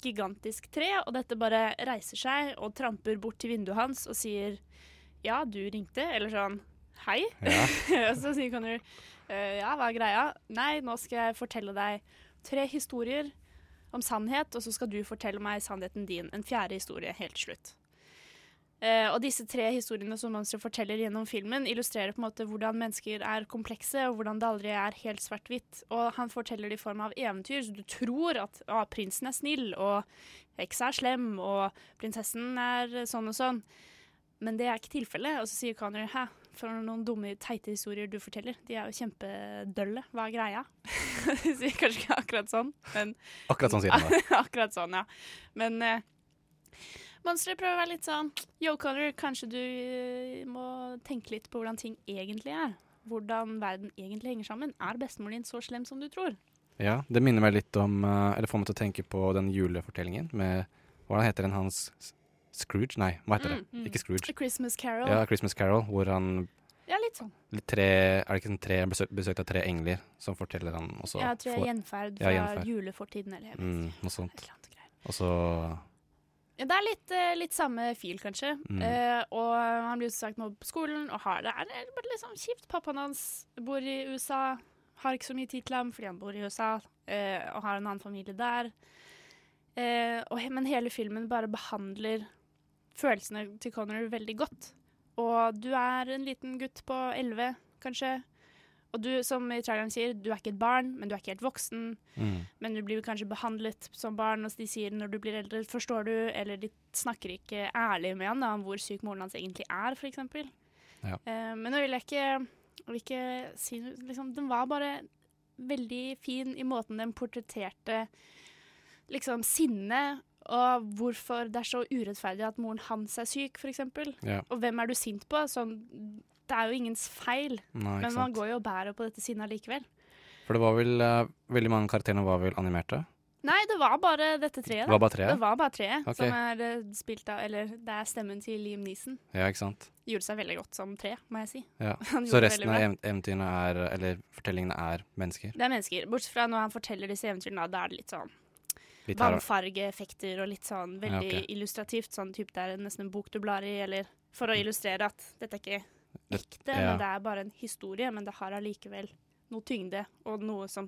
gigantisk tre, og dette bare reiser seg og tramper bort til vinduet hans og sier Ja, du ringte, eller sånn Hei.
Ja.
[LAUGHS] og så sier Connor «Eh, Ja, hva er greia? Nei, nå skal jeg fortelle deg tre historier om sannhet, og så skal du fortelle meg sannheten din. En fjerde historie helt til slutt. Eh, og disse tre historiene som Monster forteller gjennom filmen, illustrerer på en måte hvordan mennesker er komplekse, og hvordan det aldri er helt svart-hvitt. Og han forteller det i form av eventyr, så du tror at ah, prinsen er snill, og heksa er slem, og prinsessen er eh, sånn og sånn. Men det er ikke tilfellet. Og så sier Connor hæ, for noen dumme, teite historier du forteller. De er jo kjempedølle. Hva er greia? [LAUGHS] De sier kanskje ikke akkurat sånn, men
Akkurat sånn sier han det.
[LAUGHS] Akkurat sånn, ja. Men uh, Monsteret prøver å være litt sånn Yo, Connor, kanskje du eh, må tenke litt på hvordan ting egentlig er. Hvordan verden egentlig henger sammen. Er bestemoren din så slem som du tror?
Ja, det minner meg litt om eh, Eller får meg til å tenke på den julefortellingen med Hvordan heter den hans S- Scrooge? Nei, hva heter det?
Mm, mm.
Ikke
A
Scrooge.
Christmas Carol.
Ja,
Ja,
Christmas Carol, hvor han
litt sånn.
tre, Er det ikke sånn tre besøk, besøkt av tre engler som forteller han og så
Jeg tror jeg er gjenferd
Ja,
fra
gjenferd.
julefortiden eller jeg vet
mm,
ikke.
Noe sånt.
Et eller annet greier.
Og så
Ja, det er litt, eh, litt samme fil, kanskje.
Mm.
Eh, og han blir utsatt mobbet på skolen, og har det er bare litt sånn kjipt. Pappaen hans bor i USA, har ikke så mye tid til ham fordi han bor i USA, eh, og har en annen familie der. Eh, og, he- men hele filmen bare behandler følelsene til Connor veldig godt. Og du er en liten gutt på 11, kanskje. Og du, som i traileren sier, du er ikke et barn, men du er ikke helt voksen
mm,
men du blir kanskje behandlet som barn, og de sier når du blir eldre, forstår du, eller de snakker ikke ærlig med han da, om hvor syk moren hans egentlig er, for eksempel.
Ja.
Eh, men nå vil jeg ikke, vil ikke si noe, liksom, den var bare veldig fin i måten den portretterte liksom sinne, og hvorfor det er så urettferdig at moren hans er syk, for eksempel.
Ja.
Og hvem er du sint på? Sånn, det er jo ingens feil,
Nei, ikke
men man
sant.
går jo og bærer på dette sinnet likevel.
For det var vel eh, Veldig mange av karakterene var vel animerte?
Nei, det var bare dette treet.
Det
da.
var bare
Det
treet?
var bare treet
Ok.
som er eh, spilt av Eller det er stemmen til Liam Neeson.
Ja, ikke sant.
Gjorde seg veldig godt som tre, må jeg si. [LAUGHS]
Ja.
Han
Så
gjorde det
resten
veldig
av
bra.
ev- eventyrene er Eller fortellingene er mennesker?
Det er mennesker. Bortsett fra når han forteller disse eventyrene, da, da er det litt sånn
Litt her og-
vannfargeeffekter og litt sånn
Ja,
veldig
ok.
illustrativt. Sånn type det er nesten en bok du blar i, eller for å illustrere at dette er ikke
Det-
ekte, det,
Mm. ja.
men det er bare en historie. Men det har allikevel noe tyngde og noe som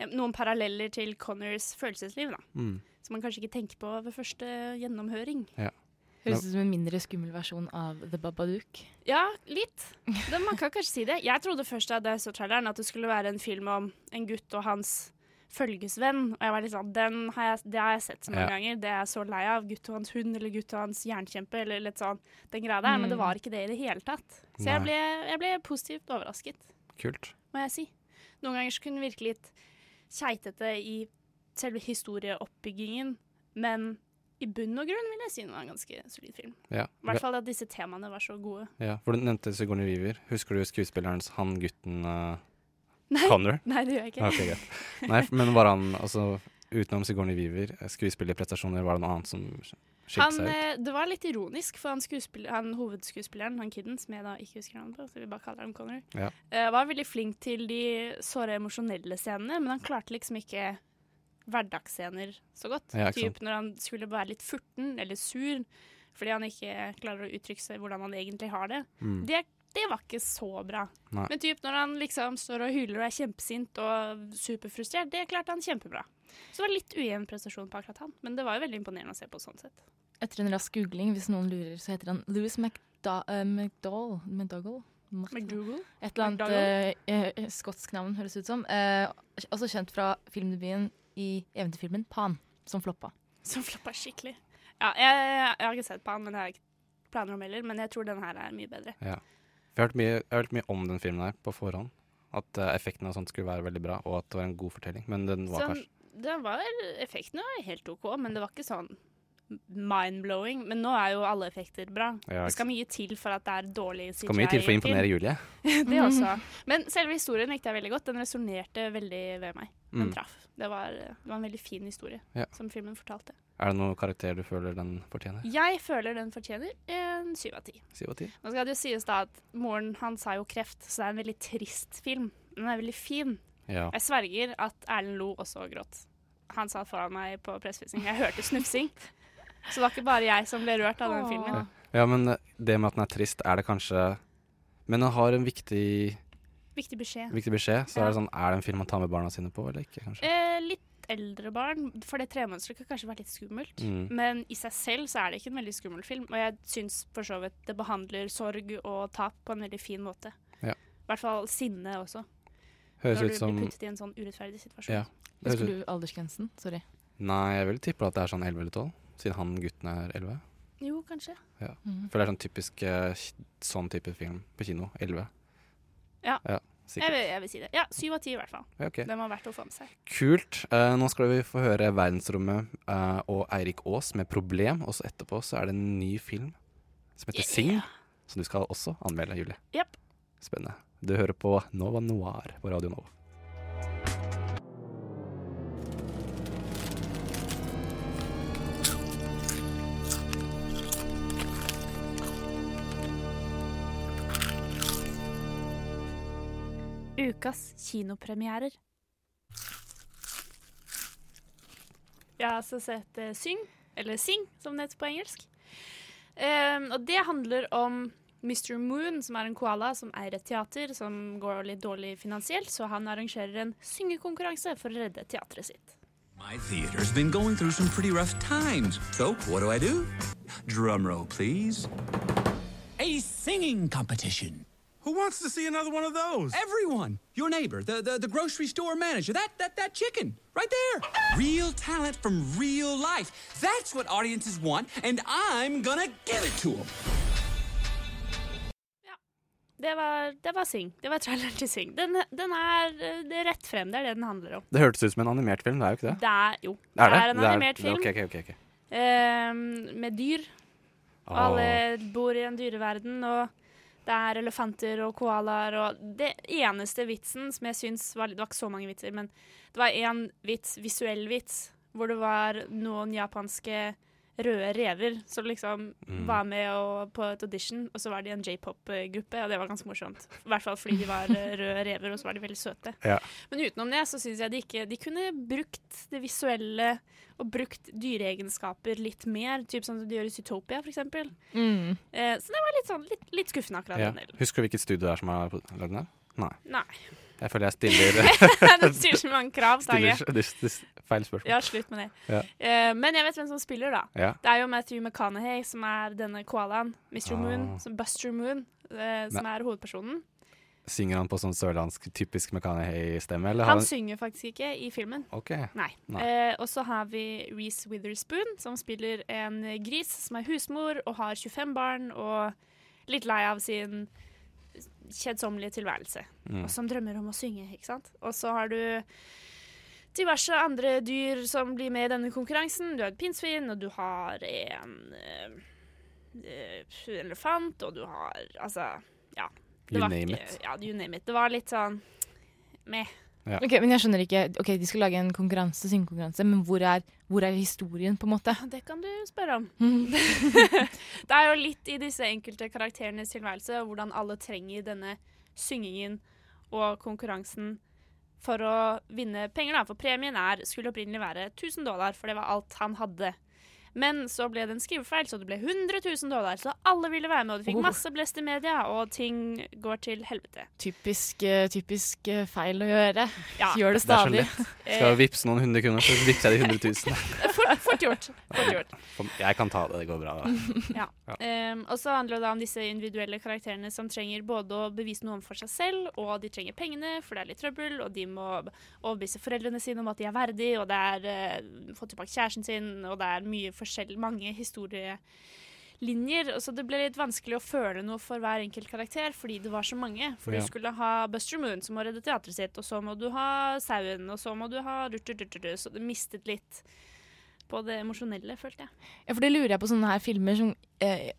eh, Noen paralleller til Connors følelsesliv, da.
mm.
Som man kanskje ikke tenker på ved første gjennomhøring.
Høres ut som en mindre skummel versjon av The Babadook.
Ja, litt. Det, man kan kanskje si det. Jeg trodde først da jeg så traileren at det skulle være en film om en gutt og hans følgesvenn. Og jeg var litt sånn, den har jeg, Det har jeg sett så mange
Ja.
ganger. Det er jeg så lei av. Gutt og hans hund eller gutt og hans jernkjempe eller litt sånn. Den greia der. Men det var ikke det i det hele tatt. Så
Mm. Nei.
jeg ble, jeg ble positivt overrasket,
Kult.
må jeg si. Noen ganger så kunne den virke litt keitete i selve historieoppbyggingen, men i bunn og grunn vil jeg si den var en ganske solid film.
Ja.
I hvert fall at disse temaene var så gode.
Ja, for du nevnte Sigourney Weaver. Husker du skuespillerens han gutten eh,
[LAUGHS] Nei.
Connor?
Nei, det gjør jeg ikke.
Ah, ok, greit. Nei, f- men var han altså Utenom Sigourney Weaver, eh, skuespillerprestasjoner, var det noe annet som sk- skilte
Han,
seg ut?
eh, det var litt ironisk, for han, skuespill- han hovedskuespilleren, han kidden, som jeg da ikke husker navnet på, så vi bare kaller ham Connor,
Ja.
eh, var veldig flink til de såre emosjonelle scenene, men han klarte liksom ikke hverdagsscener så godt.
Ja, ikke
typ når han skulle være litt furten eller sur, fordi han ikke klarer å uttrykke seg hvordan han egentlig har det.
Mm.
Det, det var ikke så bra.
Nei.
Men typ når han liksom står og hyler og er kjempesint og superfrustrert, det klarte han kjempebra. Så det var litt ujevn prestasjon på akkurat han, men det var jo veldig imponerende å se på sånn sett.
Etter en rask googling, hvis noen lurer, så heter han Louis McDa eh, McDowell. McDougall?
[LAUGHS]
McDougall?
McDougal?
Et eller annet
McDougall?
eh, eh, skotsk navn, høres ut som. Eh, også kjent fra filmdebuten i eventyrfilmen Pan, som floppa.
Som floppa skikkelig. Ja, jeg, jeg har ikke sett på han, men det er ikke planer om heller, men jeg tror den her er mye bedre.
Ja. Jeg har hørt mye, jeg har hørt mye om den filmen her på forhånd. At eh, effekten av sånt skulle være veldig bra, og at det var en god fortelling. Men den var
Sånn,
kanskje
det var effekten var helt OK, men det var ikke sånn mind-blowing. Men nå er jo alle effekter bra.
Ja,
det skal mye til for at det er dårlig CGI.
Skal mye til for å
i en film.
imponere Julie.
det også. Men selve historien likte jeg veldig godt. Den resonnerte veldig ved meg. Den
Mm.
traff. Det var, det var en veldig fin historie
Ja.
som filmen fortalte.
Er det noen karakter du føler den fortjener?
Jeg føler den fortjener en syv av ti.
Syv av ti?
Nå skal det jo sies da at moren hans har jo kreft, så det er en veldig trist film. Men den er veldig fin.
Ja.
Jeg sverger at Erlend lo også og gråt. Han sa foran meg på pressefising. Jeg hørte snufsing. Så det var ikke bare jeg som ble rørt av den filmen.
Ja, men eh, det med at den er trist, er det kanskje Men den har en viktig,
Viktig beskjed.
viktig beskjed. Så
Ja.
er det sånn Er det en film man tar med barna sine på, eller ikke? kanskje?
Eh, litt eldre barn, for det tremånedstykket kan kanskje være litt skummelt.
Mm.
Men i seg selv så er det ikke en veldig skummel film. Og jeg syns for så vidt det behandler sorg og tap på en veldig fin måte.
Ja.
I hvert fall sinne også,
Høres
når
ut
du
som
blir puttet i en sånn urettferdig situasjon.
Ja. Det høres
Husker
ut.
du aldersgrensen? Sorry.
Nei, jeg vil tippe at det er sånn 11 eller 12, siden han gutten er 11.
Jo, kanskje.
Ja.
Mm.
Mhm.
For det er sånn typisk eh, sånn type film på kino. 11.
Ja. Jeg
sikkert.
vil, jeg vil si det. Ja, syv av ti i hvert fall.
Ja, ok.
Den var verdt å få med seg.
Kult. Eh, nå skal vi få høre 'Verdensrommet' eh, og Eirik Aas med 'Problem'. Og så etterpå så er det en ny film som heter 'Sing', som du skal også anmelde, Julie.
Japp.
Spennende. Du hører på Nova Noir på Radio Nova.
Ukas kinopremierer. Jeg har altså sett eh, Syng, eller Sing, som det heter på engelsk. Ehm, og det handler om Mr. Moon, som er en koala som eier et teater som går litt dårlig finansielt, så han arrangerer en syngekonkurranse for å redde teatret sitt.
My theater's been going through some pretty rough times. So, what do I do? Drum roll, please. A singing competition.
Who wants to see another one of those?
Everyone, your neighbor, the, the, the grocery store manager, that, that, that chicken, right there. Real talent from real life. That's what audiences want, and I'm gonna give it to them.
Det var, det var Sing. Det var traileren til Sing. Den, den er, eh, det er rett frem, det er det den handler om.
Det hørtes ut som en animert film, det er jo ikke det?
Det er jo
Er det?
er en
Det
animert film
Ok, ok, ok. ok.
ehm, med dyr. Og alle bor i en dyreverden, og det er elefanter og koalaer og Det eneste vitsen som jeg syns var Det var ikke så mange vitser, men det var én vits, visuell vits, hvor det var noen japanske røde rever som liksom
Mm.
var med og, på et audition, og så var de en j-pop-gruppe, og det var ganske morsomt. I hvert fall fordi de var eh, røde rever, og så var de veldig søte.
Ja.
Men utenom det så syns jeg de ikke De kunne brukt det visuelle og brukt dyreegenskaper litt mer, typ sånn som de gjør i Zootopia, for eksempel.
Mm.
Eh, så det var litt, sånn, litt, litt skuffende akkurat
Ja.
den delen.
Husker du hvilket studio det er som har pro- lagd den? her? Nei. [LAUGHS]
Nei.
Jeg føler jeg
[LAUGHS]
stiller
Du stiller så mange krav, Tage.
[LAUGHS] stiller- det- det- Feil spørsmål.
Ja, slutt med det.
Ja.
Eh, men jeg vet hvem som spiller, da.
Ja.
Det er jo Matthew McConaughey, som er denne koalaen. Mr.
Ah.
Moon, som Buster Moon, eh, som
Men-
er hovedpersonen.
Synger han på sånn sørlandsk typisk McCannahay-stemme? eller har
Han synger faktisk ikke i filmen.
Ok.
Nei.
Nei.
Eh, og så har vi Reece Witherspoon, som spiller en gris som er husmor og har 25 barn og litt lei av sin kjedsommelige tilværelse,
Mm.
og som drømmer om å synge, ikke sant? Og så har du diverse andre dyr som blir med i denne konkurransen. Du har et pinnsvin, og du har en eh, eh, elefant, og du har Altså, ja. Det
You
var
name
ikke-
it.
Ja, you name it. Det var litt sånn meh.
Ja.
Ok, men jeg skjønner ikke Ok, De skal lage en konkurranse, syngekonkurranse, men hvor er, hvor er historien, på en måte?
Det kan du spørre om.
Mm.
[LAUGHS] det er jo litt i disse enkelte karakterenes tilværelse og hvordan alle trenger denne syngingen og konkurransen for å vinne penger. Da. For premien er, skulle opprinnelig være 1000 dollar, for det var alt han hadde. Men så ble det en skrivefeil, så det ble 100 000 dollar. Så alle ville være med, og de fikk
Oh.
masse blest i media, og ting går til helvete.
Typisk, eh, typisk eh, feil å gjøre.
Ja.
Gjør det
Det er så
stadig.
lett. Skal jeg vippse noen hundre kroner, så vippser jeg de 100 [LAUGHS] 000.
[LAUGHS] Fort, fort gjort. Fort gjort.
For- Jeg kan ta det, det går bra. Da.
ja. Ehm, og så handler det da om disse individuelle karakterene som trenger både å bevise noe overfor seg selv, og de trenger pengene, for det er litt trøbbel, og de må overbevise foreldrene sine om at de er verdige, og det er eh, få tilbake kjæresten sin, og det er mye forskjell, mange historie, linjer. og Så det ble litt vanskelig å føle noe for hver enkelt karakter, fordi det var så mange. For
Ja.
du skulle ha Buster Moon, som må redde teatret sitt, og så må du ha Sauen, og så må du ha rut, rut, rut, rut, Så det mistet litt på det emosjonelle, følte jeg.
Ja, for det lurer jeg på sånne her filmer som eh,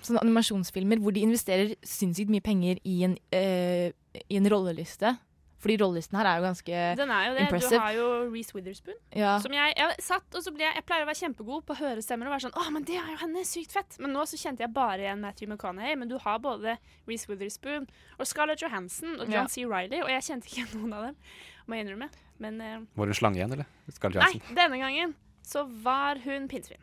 Sånne animasjonsfilmer hvor de investerer sinnssykt mye penger i en, eh, i en rolleliste. Fordi rollelisten her er jo ganske
Den er jo det.
impressive.
Du har jo Reece Witherspoon.
Ja.
Som jeg, jeg satt, og så ble jeg, jeg pleier å være kjempegod på å høre stemmer og være sånn Å, men det er jo henne! Sykt fett! Men nå så kjente jeg bare igjen Matthew McConaughey, men du har både Reece Witherspoon og Scarlett Johansson og John
Ja.
C. Riley, og jeg kjente ikke igjen noen av dem, må jeg innrømme. Men eh,
Var det en slange igjen, eller? Scarlett
nei,
Johansson.
denne gangen så var hun pinnsvin.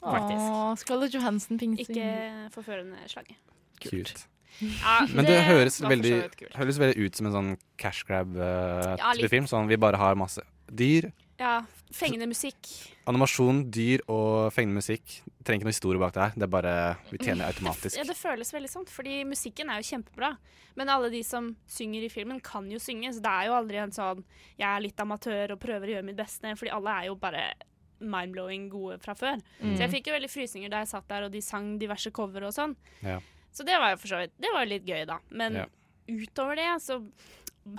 Faktisk.
Åh, Scarlett Johansson pinnsvin.
Ikke forførende slange.
Kult.
Ja,
Men det, høres,
var for så
veldig,
vidt kult.
høres veldig ut som en sånn cash grab-type
Ja, litt.
film. Sånn vi bare har masse dyr,
Ja. Fengende musikk.
animasjon, dyr og fengende musikk. Trenger ikke noe historie bak det her. Det er bare vi tjener automatisk.
Ja, det føles veldig sånn, fordi musikken er jo kjempebra. Men alle de som synger i filmen, kan jo synge, så det er jo aldri en sånn 'jeg er litt amatør og prøver å gjøre mitt beste', fordi alle er jo bare mind-blowing gode fra før.
Mm.
Så jeg fikk jo veldig frysninger da jeg satt der og de sang diverse cover og sånn.
Ja.
Så det var jo for så vidt Det var jo litt gøy, da. Men
Ja.
utover det så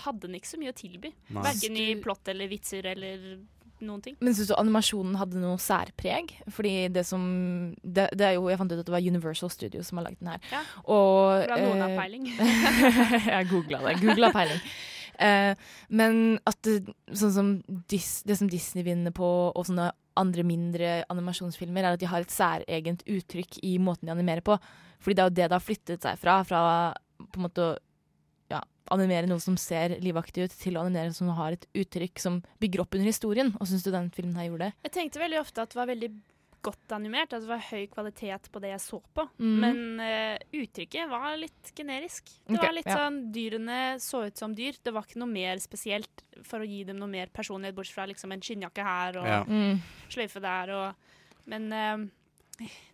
hadde den ikke så mye å tilby.
Nei.
Verken i plott eller vitser eller noen ting.
Men syns du animasjonen hadde noe særpreg? Fordi det som det, det er jo, Jeg fant ut at det var Universal Studios som har lagd den her.
Ja.
Og,
Hvordan noen har
eh,
peiling.
[LAUGHS] jeg googla det. Googla peiling. Eh, men at det, sånn som Dis, det som Disney vinner på, og sånne andre mindre animasjonsfilmer, er at de har et særegent uttrykk i måten de animerer på. Fordi det er jo det det har flyttet seg fra. Fra på en måte å ja, animere noe som ser livaktig ut, til å animere noe som har et uttrykk som bygger opp under historien. Og syns du den filmen her gjorde det?
[LAUGHS] Jeg tenkte veldig ofte at det var veldig godt animert, at det var høy kvalitet på det jeg så på.
Mhm.
Men eh, uttrykket var litt generisk. Det
Ok,
var litt
ja.
sånn dyrene så ut som dyr. Det var ikke noe mer spesielt for å gi dem noe mer personlighet, bortsett fra liksom en skinnjakke her og
Ja. Mm.
sløyfe der og Men eh,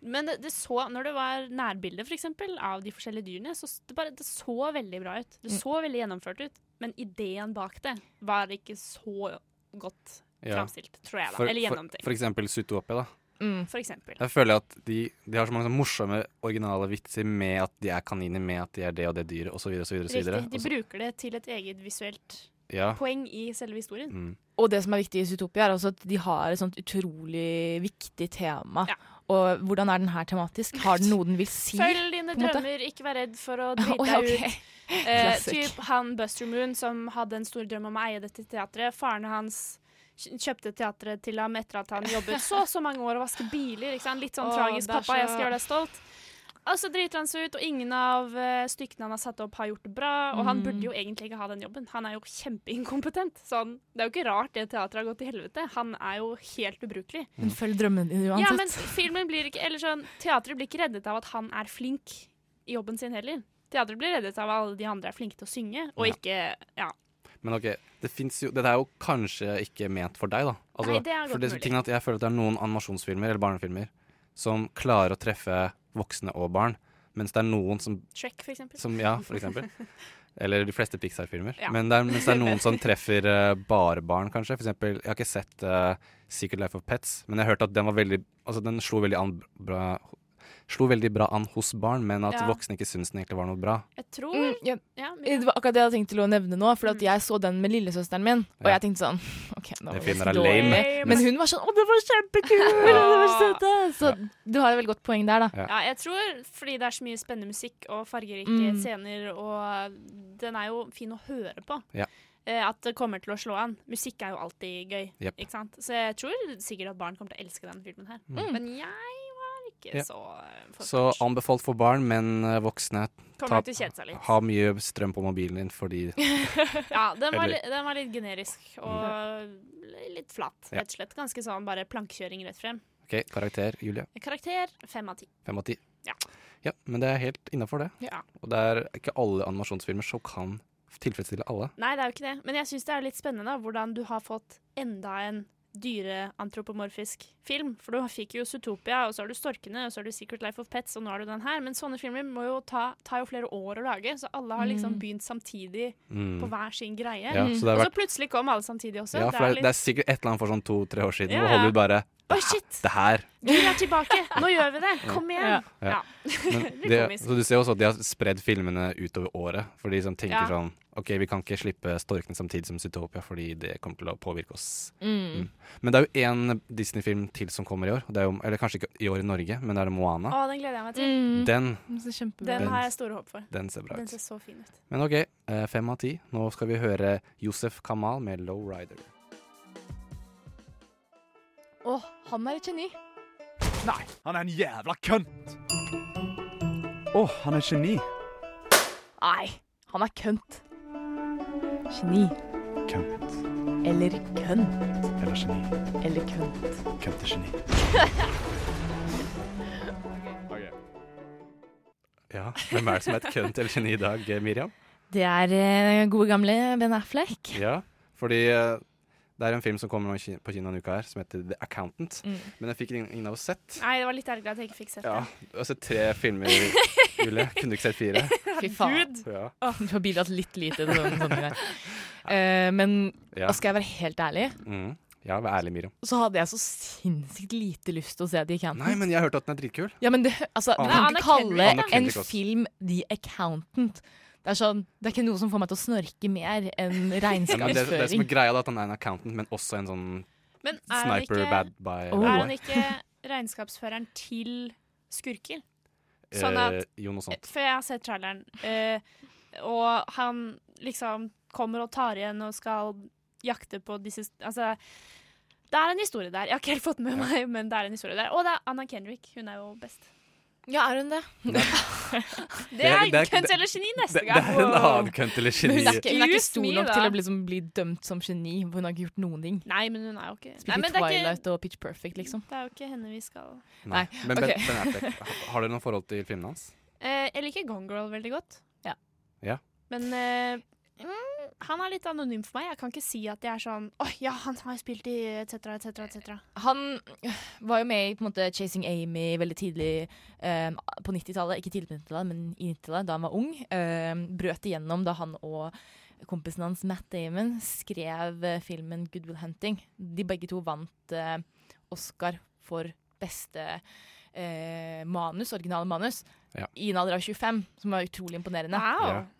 men det, det så, når det var nærbilde for eksempel, av de forskjellige dyrene, så s- det, bare, det så veldig bra ut. Det
Mm.
så veldig gjennomført ut, men ideen bak det var ikke så godt
Ja.
framstilt, tror jeg. da,
For,
Eller
for,
gjennomtenkt.
for eksempel Zootopia, da.
Mm.
For eksempel.
Jeg føler at de, de har så mange sånne morsomme originale vitser med at de er kaniner, med at de er det og det altså. dyret, osv.
Riktig. De
osv.
bruker det til et eget visuelt
Ja. Mm.
poeng i selve historien.
Og det som er viktig i Zootopia, er også at de har et sånt utrolig viktig tema. Og hvordan er den her tematisk? Har den noe den vil si?
Følg dine
på en måte?
drømmer, ikke vær redd for å drite
[LAUGHS] Å, ja,
deg
ok. [LAUGHS]
ut. Eh,
Classic.
typ han Buster Moon som hadde en stor drøm om å eie dette teatret. Faren hans kj- kjøpte teatret til ham etter at han jobbet så og så mange år og vasket biler. Ikke sant? Litt sånn
Å,
tragisk.
det er
'Pappa, jeg
så-
skal gjøre deg stolt'. Og så driter han seg ut, og ingen av eh, stykkene han har satt opp, har gjort det bra. Og han
Mm.
burde jo egentlig ikke ha den jobben. Han er jo kjempeinkompetent. Så han, det er jo ikke rart det teatret har gått til helvete. Han er jo helt ubrukelig.
Men følg drømmen din
Ja, men sånn-
uansett.
filmen blir ikke Eller sånn, teatret blir ikke reddet av at han er flink i jobben sin heller. Teatret blir reddet av at alle de andre er flinke til å synge, og
Ja.
ikke Ja.
Men ok, det finnes jo Dette er jo kanskje ikke ment for deg, da. Altså,
Nei, det er godt
for det,
mulig.
tingen er at jeg føler at det er noen animasjonsfilmer eller barnefilmer som klarer å treffe voksne og barn, mens det er noen som
Shrek, for eksempel.
Som, ja, for
[LAUGHS]
eksempel. Eller de fleste Pixar-filmer.
Ja.
Men det er, mens det er
[LAUGHS]
noen som treffer eh, bare barn, kanskje. For eksempel, jeg har ikke sett eh, Secret Life of Pets, men jeg har hørt at den var veldig Altså, den slo veldig an bra Slo veldig bra an hos barn, men at
Ja.
voksne ikke syntes den egentlig var noe bra.
Jeg tror
Mm, ja.
ja,
Det var akkurat det jeg hadde tenkt til å nevne nå, for at jeg så den med lillesøsteren min. Og
Ja.
jeg tenkte sånn [LAUGHS] OK, nå
Den
var
filmen er
så
lame.
dårlig. Men hun var sånn Å, det var kjempekult!
Ja.
Det var søte! Så du har jo veldig godt poeng der, da.
Ja, jeg tror fordi det er så mye spennende musikk og fargerike
Mm.
scener, og den er jo fin å høre på.
Ja.
eh, At det kommer til å slå an. Musikk er jo alltid gøy.
Jep.
Ikke sant? Så jeg tror sikkert at barn kommer til å elske den filmen her.
Mm.
Men jeg var ikke
Ja.
så eh, for-
Så anbefalt for barn, men eh, voksne
Kommer nok til å kjede seg litt.
ha mye strøm på mobilen
[LAUGHS]
din fordi
ja, den var,
Eller- Mm.
li- den var litt generisk og li- litt flat,
Ja.
rett og slett. Ganske sånn bare plankekjøring rett frem.
OK, karakter, Julie.
Karakter fem av ti.
Fem av ti.
Ja.
Ja, men det er helt innafor, det.
Ja.
Og det er ikke alle animasjonsfilmer som kan tilfredsstille alle.
Nei, det er jo ikke det, men jeg syns det er litt spennende da, hvordan du har fått enda en dyreantropomorfisk film. For du fikk jo Zootopia, og så har du Storkene, og så har du Secret Life of Pets, og nå har du den her. Men sånne filmer må jo ta, tar jo flere år å lage, så alle har liksom
Mm.
begynt samtidig
Mm.
på hver sin greie.
Ja, så det har
og
vært-
så plutselig kom alle samtidig også.
ja, for det er,
litt-
det er sikkert et eller annet for sånn to-tre år siden
Ja,
hvor
ja.
Hollywood bare "Ah,
Oi, shit! [LAUGHS]
Det her!
Dyr er tilbake! Nå gjør vi det! Kom igjen!
Ja.
Ja.
Men
Litt
det,
komisk.
så du ser også at de har spredd filmene utover året. For de som tenker
Ja.
sånn OK, vi kan ikke slippe 'Storkene' samtidig som 'Zootopia', fordi det kommer til å påvirke oss.
Mm.
Men det er jo én Disney-film til som kommer i år. og Det er jo, eller kanskje ikke i år i Norge, men det er
Å,
Moana.
den gleder jeg meg til.
Den-
Den ser Mm. kjempebra
Den
ut.
har jeg store håp for.
Den ser bra
Mm. Den
ut.
ser så fin ut.
Men OK, eh, fem av ti. Nå skal vi høre Josef Kamal med 'Low Rider'.
Åh, han er et geni.
Nei, han er en jævla kønt!
Å, han er geni.
Nei, han er kønt. Geni.
Kønt.
Eller kønt.
Eller geni.
Eller kønt.
Køntegeni.
Ja, hvem er det som er et kønt eller geni i dag, eh, Miriam?
Det er eh, gode gamle Ben Affleck.
Ja, fordi eh, det er en film som kommer nå i Ki- på kino en uke her, som heter The Accountant.
Mm.
Men jeg fikk ingen ingen av oss sett.
Nei, det var litt ergerlig at jeg ikke fikk sett
Ja,
den.
du har sett tre
[LAUGHS]
filmer, Julie. Kunne du ikke sett fire?
Fy faen.
Ja.
[LAUGHS] Åh, Du har bidratt litt lite til sånne sånne greier. Eh, men
Ja.
og skal jeg være helt ærlig,
Mm. Ja, vær ærlig, Miriam.
så hadde jeg så sinnssykt lite lyst til å se The Accountant.
Nei, men jeg hørte at den er dritkul.
Ja, men det, altså, du
Anna-
kan
Anna
ikke kalle
Kendrick, da.
en
Anna Kendrick også.
film The Accountant. Det er, sånn, det er ikke noe som får meg til å snorke mer enn
Ja, men det, det som
regnskapsføring.
er greia, da, at han er en accountant, men også en sånn
Men er han
sniper
ikke-
bad eh, by.
Er han ikke
[LAUGHS]
regnskapsføreren til skurker? Sånn
Eh,
at
jo, noe sånt.
For jeg har sett traileren, eh, og han liksom kommer og tar igjen og skal jakte på disse Altså, det er en historie der. Jeg har ikke helt fått med meg, men det er en historie der. Og det er Anna Kendrick. Hun er jo best.
Ja, er hun det?
Det er kønt eller geni neste
det,
gang.
Det er en annen kønt eller
Men [LAUGHS]
geni.
Hun er ikke, hun er ikke
Excuse
stor
me,
nok
da.
til å bli, liksom, bli dømt som geni. for Hun har ikke gjort noen ting.
Nei, men hun er jo ikke Nei,
Spilt i
men det er
Twilight
ikke,
og Pitch Perfect, liksom.
det er jo ikke henne vi skal
Nei. Men
ok.
ben, ben Affleck, ha- har dere noe forhold til filmene hans?
eh, Jeg liker Gone Girl veldig godt.
Ja.
Men eh, mm, han er litt anonym for meg. Jeg kan ikke si at jeg er sånn Å ja, han har spilt i etc., etc., etc.
Han var jo med i på en måte, Chasing Amy veldig tidlig eh, på 90-tallet. Ikke tidlig på 90-tallet, men i 90-tallet, da han var ung. Eh, brøt igjennom da han og kompisen hans Matt Damon skrev eh, filmen Good Will Hunting. De begge to vant eh, Oscar for beste eh, manus, originale manus,
Ja.
i en alder av 25, som var utrolig imponerende.
Ja.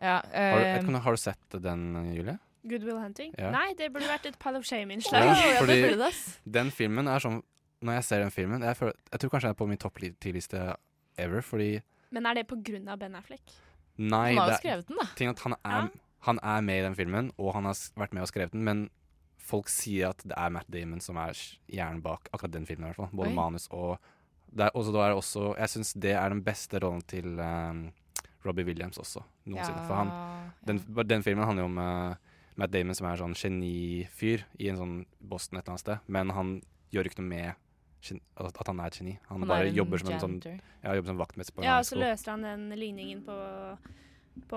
Ja,
Har, du,
eh,
kan, du- har du sett den, Julie?
Goodwill Hunting?
Ja.
Nei, det burde vært et Pile of Shame-innslag.
Ja, fordi
burde det, ass.
den filmen er sånn Når jeg ser den filmen Jeg, føler, jeg tror kanskje jeg er på min topp ti-liste ever, fordi
Men er det på grunn av Ben Affleck?
Nei,
Han har jo
det er-
skrevet den, da.
ting at han, er, han er med i den filmen, og han har s- vært med og skrevet den, men folk sier at det er Matt Damon som er sj- hjernen bak akkurat den filmen. I hvert fall. Både
Oi.
manus og det er, også, da er det også, Jeg syns det er den beste rollen til eh, Robbie Williams også,
Ja,
noensinne. For han, den, den filmen handler jo om eh, Matt Damon som er sånn genifyr i en sånn Boston et eller annet sted, men han gjør ikke noe med gen- at at han er et geni. Han,
Han er
bare
en
jobber som, en sånn,
janitor.
ja, jobber som vaktmester på en
Ja, og så
high school.
løste han den ligningen på på,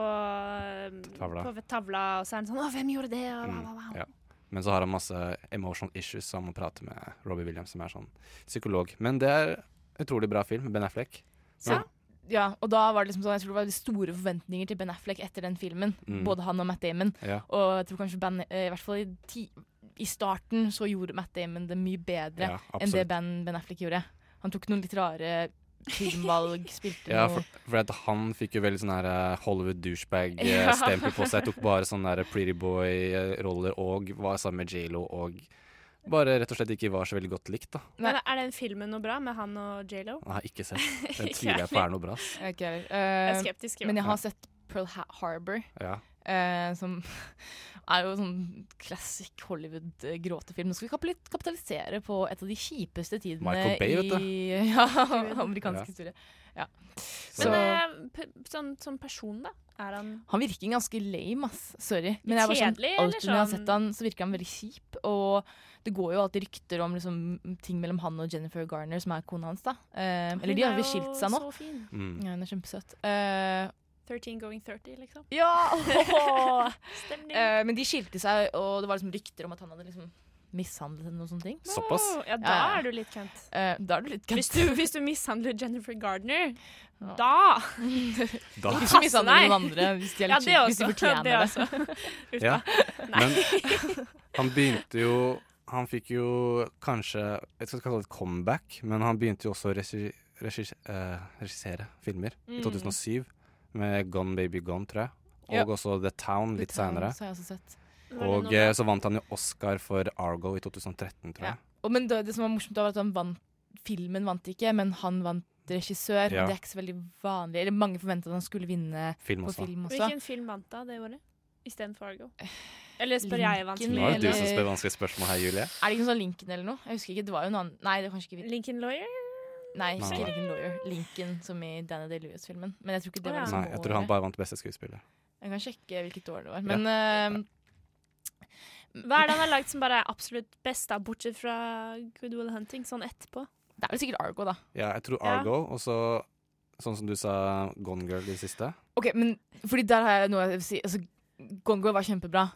um,
Tavla.
på tavla, og så er han sånn 'Å, hvem gjorde det?' Og, wow, wow, wow.
Mm, Ja. Men så har han masse emotional issues, så han må prate med Robbie Williams, som er sånn psykolog. Men det er utrolig bra film. Ben Affleck.
Så, ja, og da var det liksom sånn, jeg tror det var store forventninger til Ben Affleck etter den filmen.
Mm.
Både han og Matt Damon.
Ja.
Og jeg tror kanskje Ben, eh, i hvert fall i, ti, i starten så gjorde Matt Damon det mye bedre
Ja,
enn det
absolutt.
ben, ben Affleck gjorde. Han tok noen litt rare filmvalg,
[LAUGHS]
spilte
Ja,
noe
for, for at han fikk jo veldig sånn her eh, Hollywood douchebag-stempel på
[LAUGHS]
seg. Tok bare sånne der pretty boy-roller og var sammen med J.Lo og bare rett og slett ikke var så veldig godt likt, da.
Men er den filmen noe bra med han og J.Lo?
Jeg har ikke
[LAUGHS]
sett. Den
Ikke
tviler jeg på er noe bra. ass.
Jeg er ikke heller.
Jeg er
Eh,
skeptisk, jo.
Men jeg
Ja.
har sett Pearl ha Harbor.
Ja.
eh, som [LAUGHS] er jo sånn classic Hollywood-gråtefilm. Nå skal vi kapitali- kapitalisere på et av de kjipeste tidene
Michael Bay, vet du.
i [LAUGHS] ja, amerikansk
Ja.
historie. Ja.
Men
Så-
eh, p- sånn som person, da? Er han
Han virker ganske lame, ass. Sorry.
Litt
Men jeg var sånn,
kjedelig,
alltid
eller
når jeg har
sånn-
sett han, så virker han veldig kjip. Og det går jo alltid rykter om liksom, ting mellom han og Jennifer Garner, som er kona hans. da. Eh, eller de
Hun
har
er
jo
jo
skilt seg nå.
så fin.
Mm.
Ja, hun er kjempesøt.
[LAUGHS]
Eh,
13 going 30,
[LAUGHS]
liksom?
ja! åhå!
Stemning.
[LAUGHS] Eh, men de skilte seg, og det var liksom rykter om at han hadde liksom mishandlet henne og sånne ting.
Såpass?
Ja, da er du litt kønt.
Eh, da er du litt
Hvis du, hvis du mishandler Jennifer Gardner,
Ja. [LAUGHS]
da
Da.
Må
Ikke
passe
mishandle noen
deg.
andre hvis de er litt
sånn, ja,
kjipe, hvis de fortjener
det.
det.
Også. [LAUGHS] Uff da.
[LAUGHS]
Ja, men
Nei.
han begynte jo Han fikk jo kanskje Jeg skal ikke kalle det et comeback, men han begynte jo også å regi, regis, eh, regissere filmer i
Mm.
2007 med Gone Baby Gone, tror jeg. Og
Ja.
også The Town litt
Town,
seinere.
så har jeg også sett. Var det
Og
noe-
eh, så vant han jo Oscar for Argo i 2013, tror
Ja.
jeg.
Og, men det, det som var morsomt, da var at han vant Filmen vant ikke, men han vant regissør.
Ja.
Det er ikke så veldig vanlig. Eller mange forventa at han skulle vinne
Film
på
også.
film også.
Hvilken film vant da det året? Istedenfor Argo?
Eh,
Eller spør jeg vanskelig?
Nå er det du som
eller-
spør vanskelige spørsmål her, Julie.
Er det ikke noe sånn Lincoln eller noe? Jeg husker ikke, det var jo en annen Nei, det var kanskje ikke
Lincoln Lawyer?
Nei, ikke
Nei.
Lincoln Lawyer. Lincoln som i Danny Day-Lewis-filmen. Men jeg tror ikke det var liksom
Nei, jeg tror han
året.
bare vant beste skuespiller.
Jeg kan sjekke hvilket år det var.
Ja.
Men ehm,
Hva er det han har lagd som bare er absolutt best, da, bortsett fra Good Will Hunting, sånn etterpå?
eh, det er vel sikkert Argo, da.
Ja, jeg tror
Ja.
Argo, og så sånn som du sa Gone Girl i det siste.
Ok, men Fordi der har jeg noe jeg vil si. Altså, Gongo var kjempebra.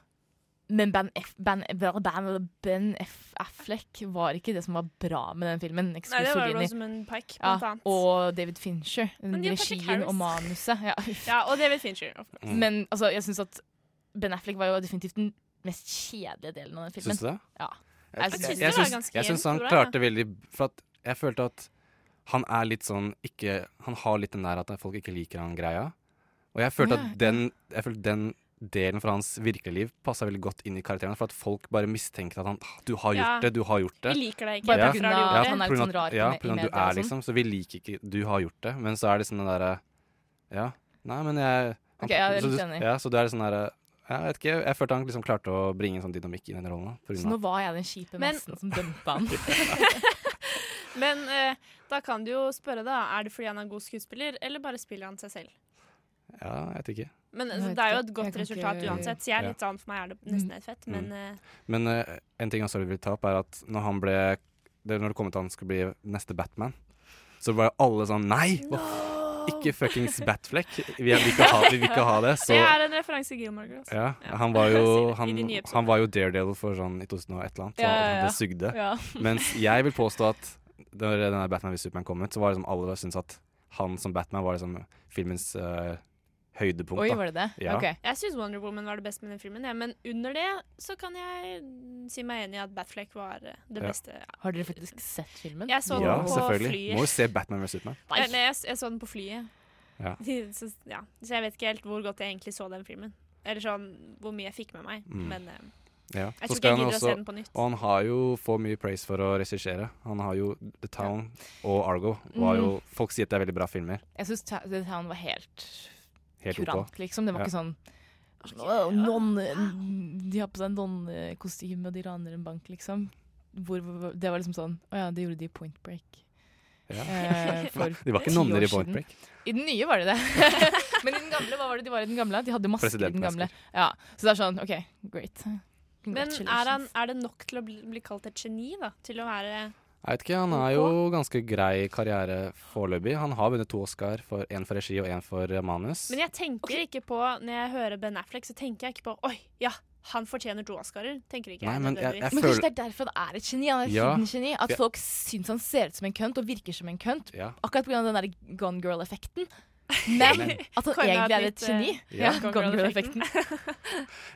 Men Ben, F, ben, ben, ben, ben F, Affleck var ikke det som var bra med den filmen.
Nei, det var
Excuse me.
Rosamund Pike,
ja,
blant annet.
og David Fincher.
Men de har Patrick
Regien
Harris.
og manuset. Ja. uff.
Ja, og David Fincher. of
Mm.
course.
Men altså, jeg syns at Ben Affleck var jo definitivt den mest kjedelige delen av den filmen.
Syns du det?
Ja.
Jeg,
synes-
jeg, jeg, syns- jeg syns han klarte veldig For at jeg følte at han er litt sånn ikke Han har litt den der at folk ikke liker han greia. Og jeg følte
Ja,
at den, jeg følte den delen fra hans virkelige liv passa veldig godt inn i karakteren. For at folk bare mistenker at han «Ah, Du har gjort
Ja.
det, du har gjort det.
Vi liker deg ikke, Bare på grunn av at han er
på grunn
litt sånn rar
ja,
i- i
på grunn av du
media og
er,
sånn.
liksom. Så vi liker ikke Du har gjort det. Men så er det sånn den derre Ja, nei, men jeg han-
Ok, jeg er
så
litt
du-
enig.
Ja, så det er sånn derre jeg vet ikke, jeg følte han liksom klarte å bringe en sånn dynamikk inn i den rollen. på grunn
Så
av-
nå var jeg den kjipe
Men-
massen som dømte
[LAUGHS]
han.
Men eh, da kan du jo spørre, da. Er det fordi han er god skuespiller, eller bare spiller han seg selv?
Ja, jeg vet ikke.
Men
Jeg
altså,
vet
det er jo
ikke.
et godt
Jeg kan
resultat
ikke-
uansett, så jeg er
Ja.
litt sånn, for meg er det nesten helt fett, men
Mm.
eh,
Men eh, en ting jeg også vil ta opp, er at når han ble det, Når det kom ut at han skulle bli neste Batman, så var alle sånn Nei!
eh,
uff, Ikke
[LAUGHS]
fuckings Batfleck! Vi vil ikke ha, vi vil ikke ha det. Så
Det er en referanse til Gilmore Girls.
ja, han var jo han,
I de nye episodene.
han var jo Daredevil for sånn i 2000 og et eller annet. Så
Ja, ja, ja.
Det
[LAUGHS]
sugde.
Ja.
Mens jeg vil påstå at da den der Batman vs Superman kom ut, så var det liksom alle syntes at han som Batman var liksom filmens eh, høydepunkt.
Oi,
da.
var det det?
Ja.
Jeg syns Wonder Woman var det beste med den filmen, ja, men under det så kan jeg mm, si meg enig i at Batfleck var eh, det
Ja.
beste.
Har dere faktisk sett filmen?
Jeg så
ja,
den sånn på
selvfølgelig.
flyet.
Må jo se Batman vs Superman.
Nei, nei, jeg, s- jeg så den på flyet.
Ja.
[LAUGHS] Så, ja. så jeg vet ikke helt hvor godt jeg egentlig så den filmen. Eller sånn hvor mye jeg fikk med meg.
Mm.
Men eh,
Ja.
jeg tror ikke
så
jeg
skal han
gidder å
også,
se den på nytt.
Og han har jo for mye praise for å regissere. Han har jo The Town og Argo. Var jo,
Mhm.
Folk sier at det er veldig bra filmer.
Jeg syns Ta- The Town var helt,
Helt ok.
kurant, liksom. Det var
Ja.
ikke sånn «Åh, nonne, De har på seg nonnekostyme, og de raner en bank, liksom. Hvor, hvor- det var liksom sånn Å ja, det gjorde de i Point Break.
Ja.
Eh,
[LAUGHS]
for
De var ikke
ti
nonner
år
i Point
siden.
Break.
I den nye var de
[LAUGHS]
det. Men i den gamle, hva var det de var i den gamle? De hadde masker i den gamle.
Presidentmasker.
Ja, så det er sånn, OK, great.
Men
Congratulations.
er, han, er det nok til å bli, bli kalt et geni, da? Til å være
Jeg vet ikke, Han har jo ganske grei karriere foreløpig. Han har vunnet to Oscar, for én for regi og én for eh, manus.
Men jeg tenker ikke på Når jeg hører Ben Affleck, så tenker jeg ikke på Oi, ja, han fortjener to Oscarer. Tenker ikke
Nei, men jeg-
nødvendigvis.
jeg Men kanskje føler-
Det er derfor han er et geni. Han er et
Ja.
hidden geni. At
Ja.
folk syns han ser ut som en kønt og virker som en kønt.
Ja.
Akkurat pga. den der Gone Girl-effekten. Men
Men-
at han
Kan jeg ha
egentlig er
et
et
nytt, eh,
geni.
Ja.
Ja, Gone Girl-effekten.
[LAUGHS]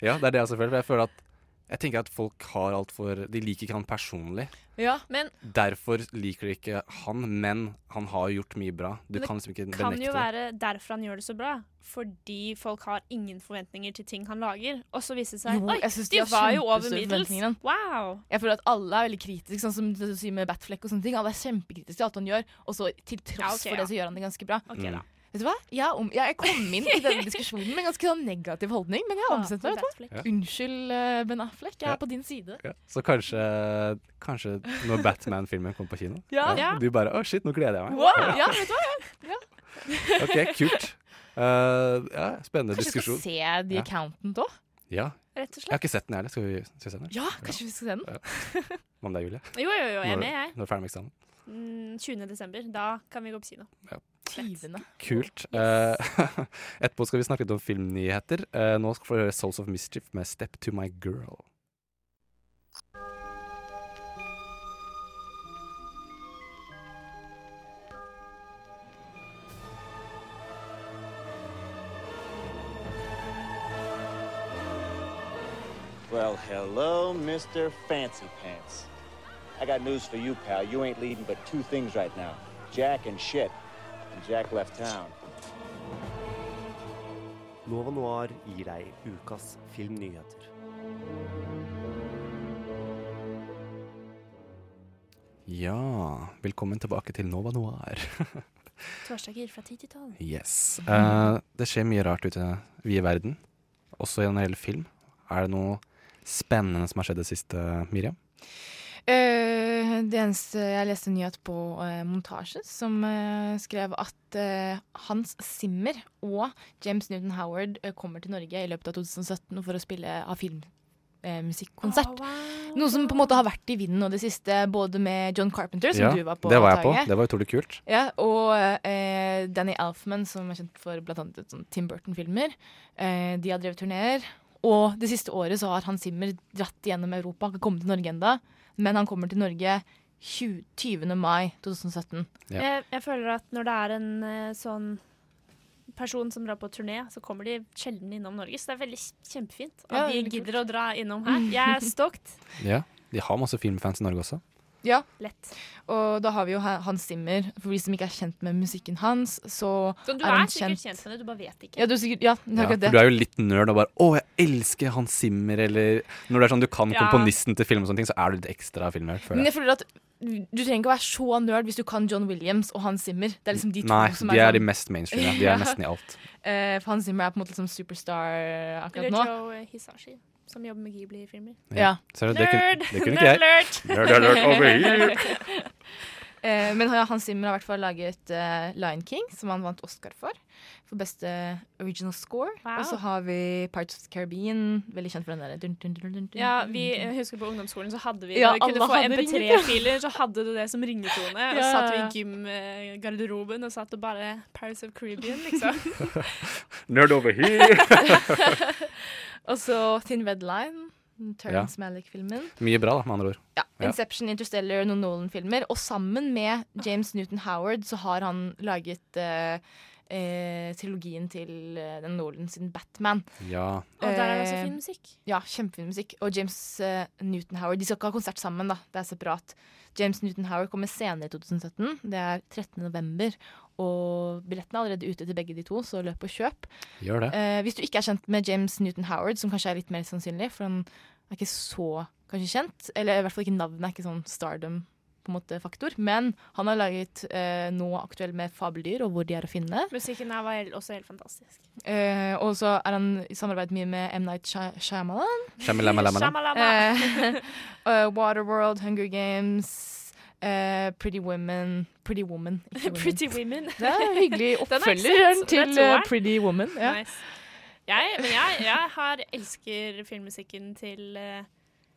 Ja, det er det jeg også føler. For jeg føler at jeg tenker at folk har alt for De liker ikke han personlig.
Ja.
Men
Derfor liker de ikke han, men han har gjort mye bra.
Men
Du
det
kan liksom ikke
kan jo
benekte det.
være derfor han gjør det så bra. Fordi folk har ingen forventninger til ting han lager. Og så viser det seg
Jo,
Oi,
jeg synes
de
de har
var jo over
kjempestore
middels.
forventninger.
Wow.
Jeg føler at alle er veldig kritiske, sånn som du sier med Batfleck og sånne ting. Alle er kjempekritiske til alt han gjør, og så til tross
Ja, ok,
for det
ja.
så gjør han det ganske bra.
Ok,
Mm.
da.
Vet du hva? Jeg, er om, jeg kom inn i denne diskusjonen med en ganske sånn negativ holdning, men jeg har ombestemt meg. vet du
Ja.
hva? Unnskyld, eh, Ben Affleck, jeg
Ja.
er på din side.
Ja. Så kanskje, kanskje når Batman-filmen kommer på kino
[LAUGHS] Ja. Ja.
Du bare 'Å, shit, nå gleder jeg meg'.
Wow! Ja, vet du hva? Ja. Ja.
OK, kult. Eh, ja, spennende
Kanskje vi skal
diskusjon.
se The
Ja.
Accountant òg?
Ja.
Rett og slett.
Jeg har ikke sett den, jeg heller. Skal vi skal vi se den?
Ja, kanskje vi skal se den?
Hva med deg, Julie?
Jo, jo, jo, jeg er
Når-
med, jeg.
Når du er ferdig med eksamen.
Mm, 20. desember. Da kan vi gå på kino.
Ja.
Tyvende.
Kult. Eh, [LAUGHS] etterpå skal vi snakke litt om filmnyheter. Eh, nå skal vi få høre Souls of Mischief med 'Step to my girl'.
Well, hello, Mr. Fancy Pants. I got news for you, pal. You ain't leading but two things right now Jack and shit. And Jack left town.
Nova Noir gir deg ukas filmnyheter.
Ja, velkommen tilbake til Nova Noir. [LAUGHS]
Torsdager fra 10 til 12.
yes. Eh, det skjer mye rart ute i verden, også gjennom hele film. Er det noe spennende som har skjedd det siste, Miriam?
Eh, det eneste Jeg leste en nyhet på eh, Montasje, som eh, skrev at eh, Hans Zimmer og James Newton Howard eh, kommer til Norge i løpet av 2017 for å spille eh, av filmmusikkonsert.
Ah,
Noe som på en måte har vært i vinden nå det siste, både med John Carpenter, som
ja,
du var på.
det var jeg på.
Tage.
Det var utrolig kult.
Ja, og eh, Danny Elfman, som er kjent for blant annet sånn Tim Burton-filmer. Eh, de har drevet turneer. Og det siste året så har Hans Zimmer dratt gjennom Europa. Han har ikke kommet til Norge enda, men han kommer til Norge 20. 20. mai 2017.
Jeg, jeg føler at når det er en eh, sånn person som drar på turné, så kommer de sjelden innom Norge. Så det er veldig kjempefint at
Ja,
de
veldig
gidder å dra innom her. Jeg er stoked.
Ja, De har masse filmfans i Norge også.
Ja. Og da har vi jo Ha- Hans Zimmer. For de som ikke er kjent med musikken hans, så,
Så du
han
er sikkert kjent med det, du bare vet ikke.
Ja, du er sikkert, ja, det er
Ja,
akkurat
for
det.
du er jo litt nerd og bare 'Å, jeg elsker Hans Zimmer', eller Når det er sånn du kan
Ja.
komponisten til film og sånne ting, så er du litt ekstra filmnerd. føler
Men
jeg.
jeg føler at du trenger ikke å være så nerd hvis du kan John Williams og Hans Zimmer. Det er liksom de to
Nei,
som
de er
sånn-
de mest
[LAUGHS]
mainstream, ja. De er nesten i alt.
Eh, for Hans Zimmer er på en måte liksom superstar akkurat
Eller
nå.
Joe Hisashi, som jobber med Ghibli-filmer.
Ja.
Ser du, det
[LAUGHS]
kunne-
Nerd!
det kunne ikke jeg. Nerd alert over here!
Eh, men ja, Hans Zimmer har i hvert fall laget eh, Lion King, som han vant Oscar for. For beste original score.
Wow.
Og så har vi Parts of the Caribbean, veldig kjent for den derre dun, dun, dun, dun, dun,
Ja,
dun,
vi
dun.
jeg husker på ungdomsskolen så hadde vi
Ja,
Når vi kunne
alle
få
hadde
MP3-filer, så hadde du det som ringetone. Og
Ja,
så satt vi
ja.
i gymgarderoben og satt og bare Paris of Caribbean, liksom.
Nerd over here!
Og så Thin Red Line, Terence Malick-filmen.
[LAUGHS] Mye bra, da, med andre ord.
Ja, Inception, Interstellar, noen Nolan-filmer. Og sammen med James Newton Howard så har han laget eh, eh, trilogien til eh, den Nolan sin Batman.
Ja.
[LAUGHS] Og der er det også
Eh,
fin musikk.
Ja, kjempefin musikk. Og James eh, Newton Howard. De skal ikke ha konsert sammen, da. Det er separat. James Newton Howard kommer senere i 2017. Det er 13. november. Og billettene er allerede ute til begge de to, så løp og kjøp.
Gjør det.
Eh, hvis du ikke er kjent med James Newton Howard, som kanskje er litt mer sannsynlig, for han er ikke så kanskje kjent, eller i hvert fall ikke navnet er ikke sånn stardom på en måte faktor, men han har laget eh, nå aktuell med fabeldyr og hvor de er å finne.
Musikken her var hel- også helt fantastisk.
Eh, og så er han i samarbeid mye med M. Night Shy- Shyamalan.
Shyamalamalamala.
Shyamalama.
Eh, eh, Waterworld, Hunger Games, eh, Pretty Women Pretty Woman.
[LAUGHS]
ikke Women.
Pretty Women.
Det er en hyggelig
[LAUGHS] Den har jeg
oppfølger
sett.
til
Det er
eh,
toeren.
Pretty Woman. Ja.
Nice. Jeg, men jeg, jeg har elsker filmmusikken til eh,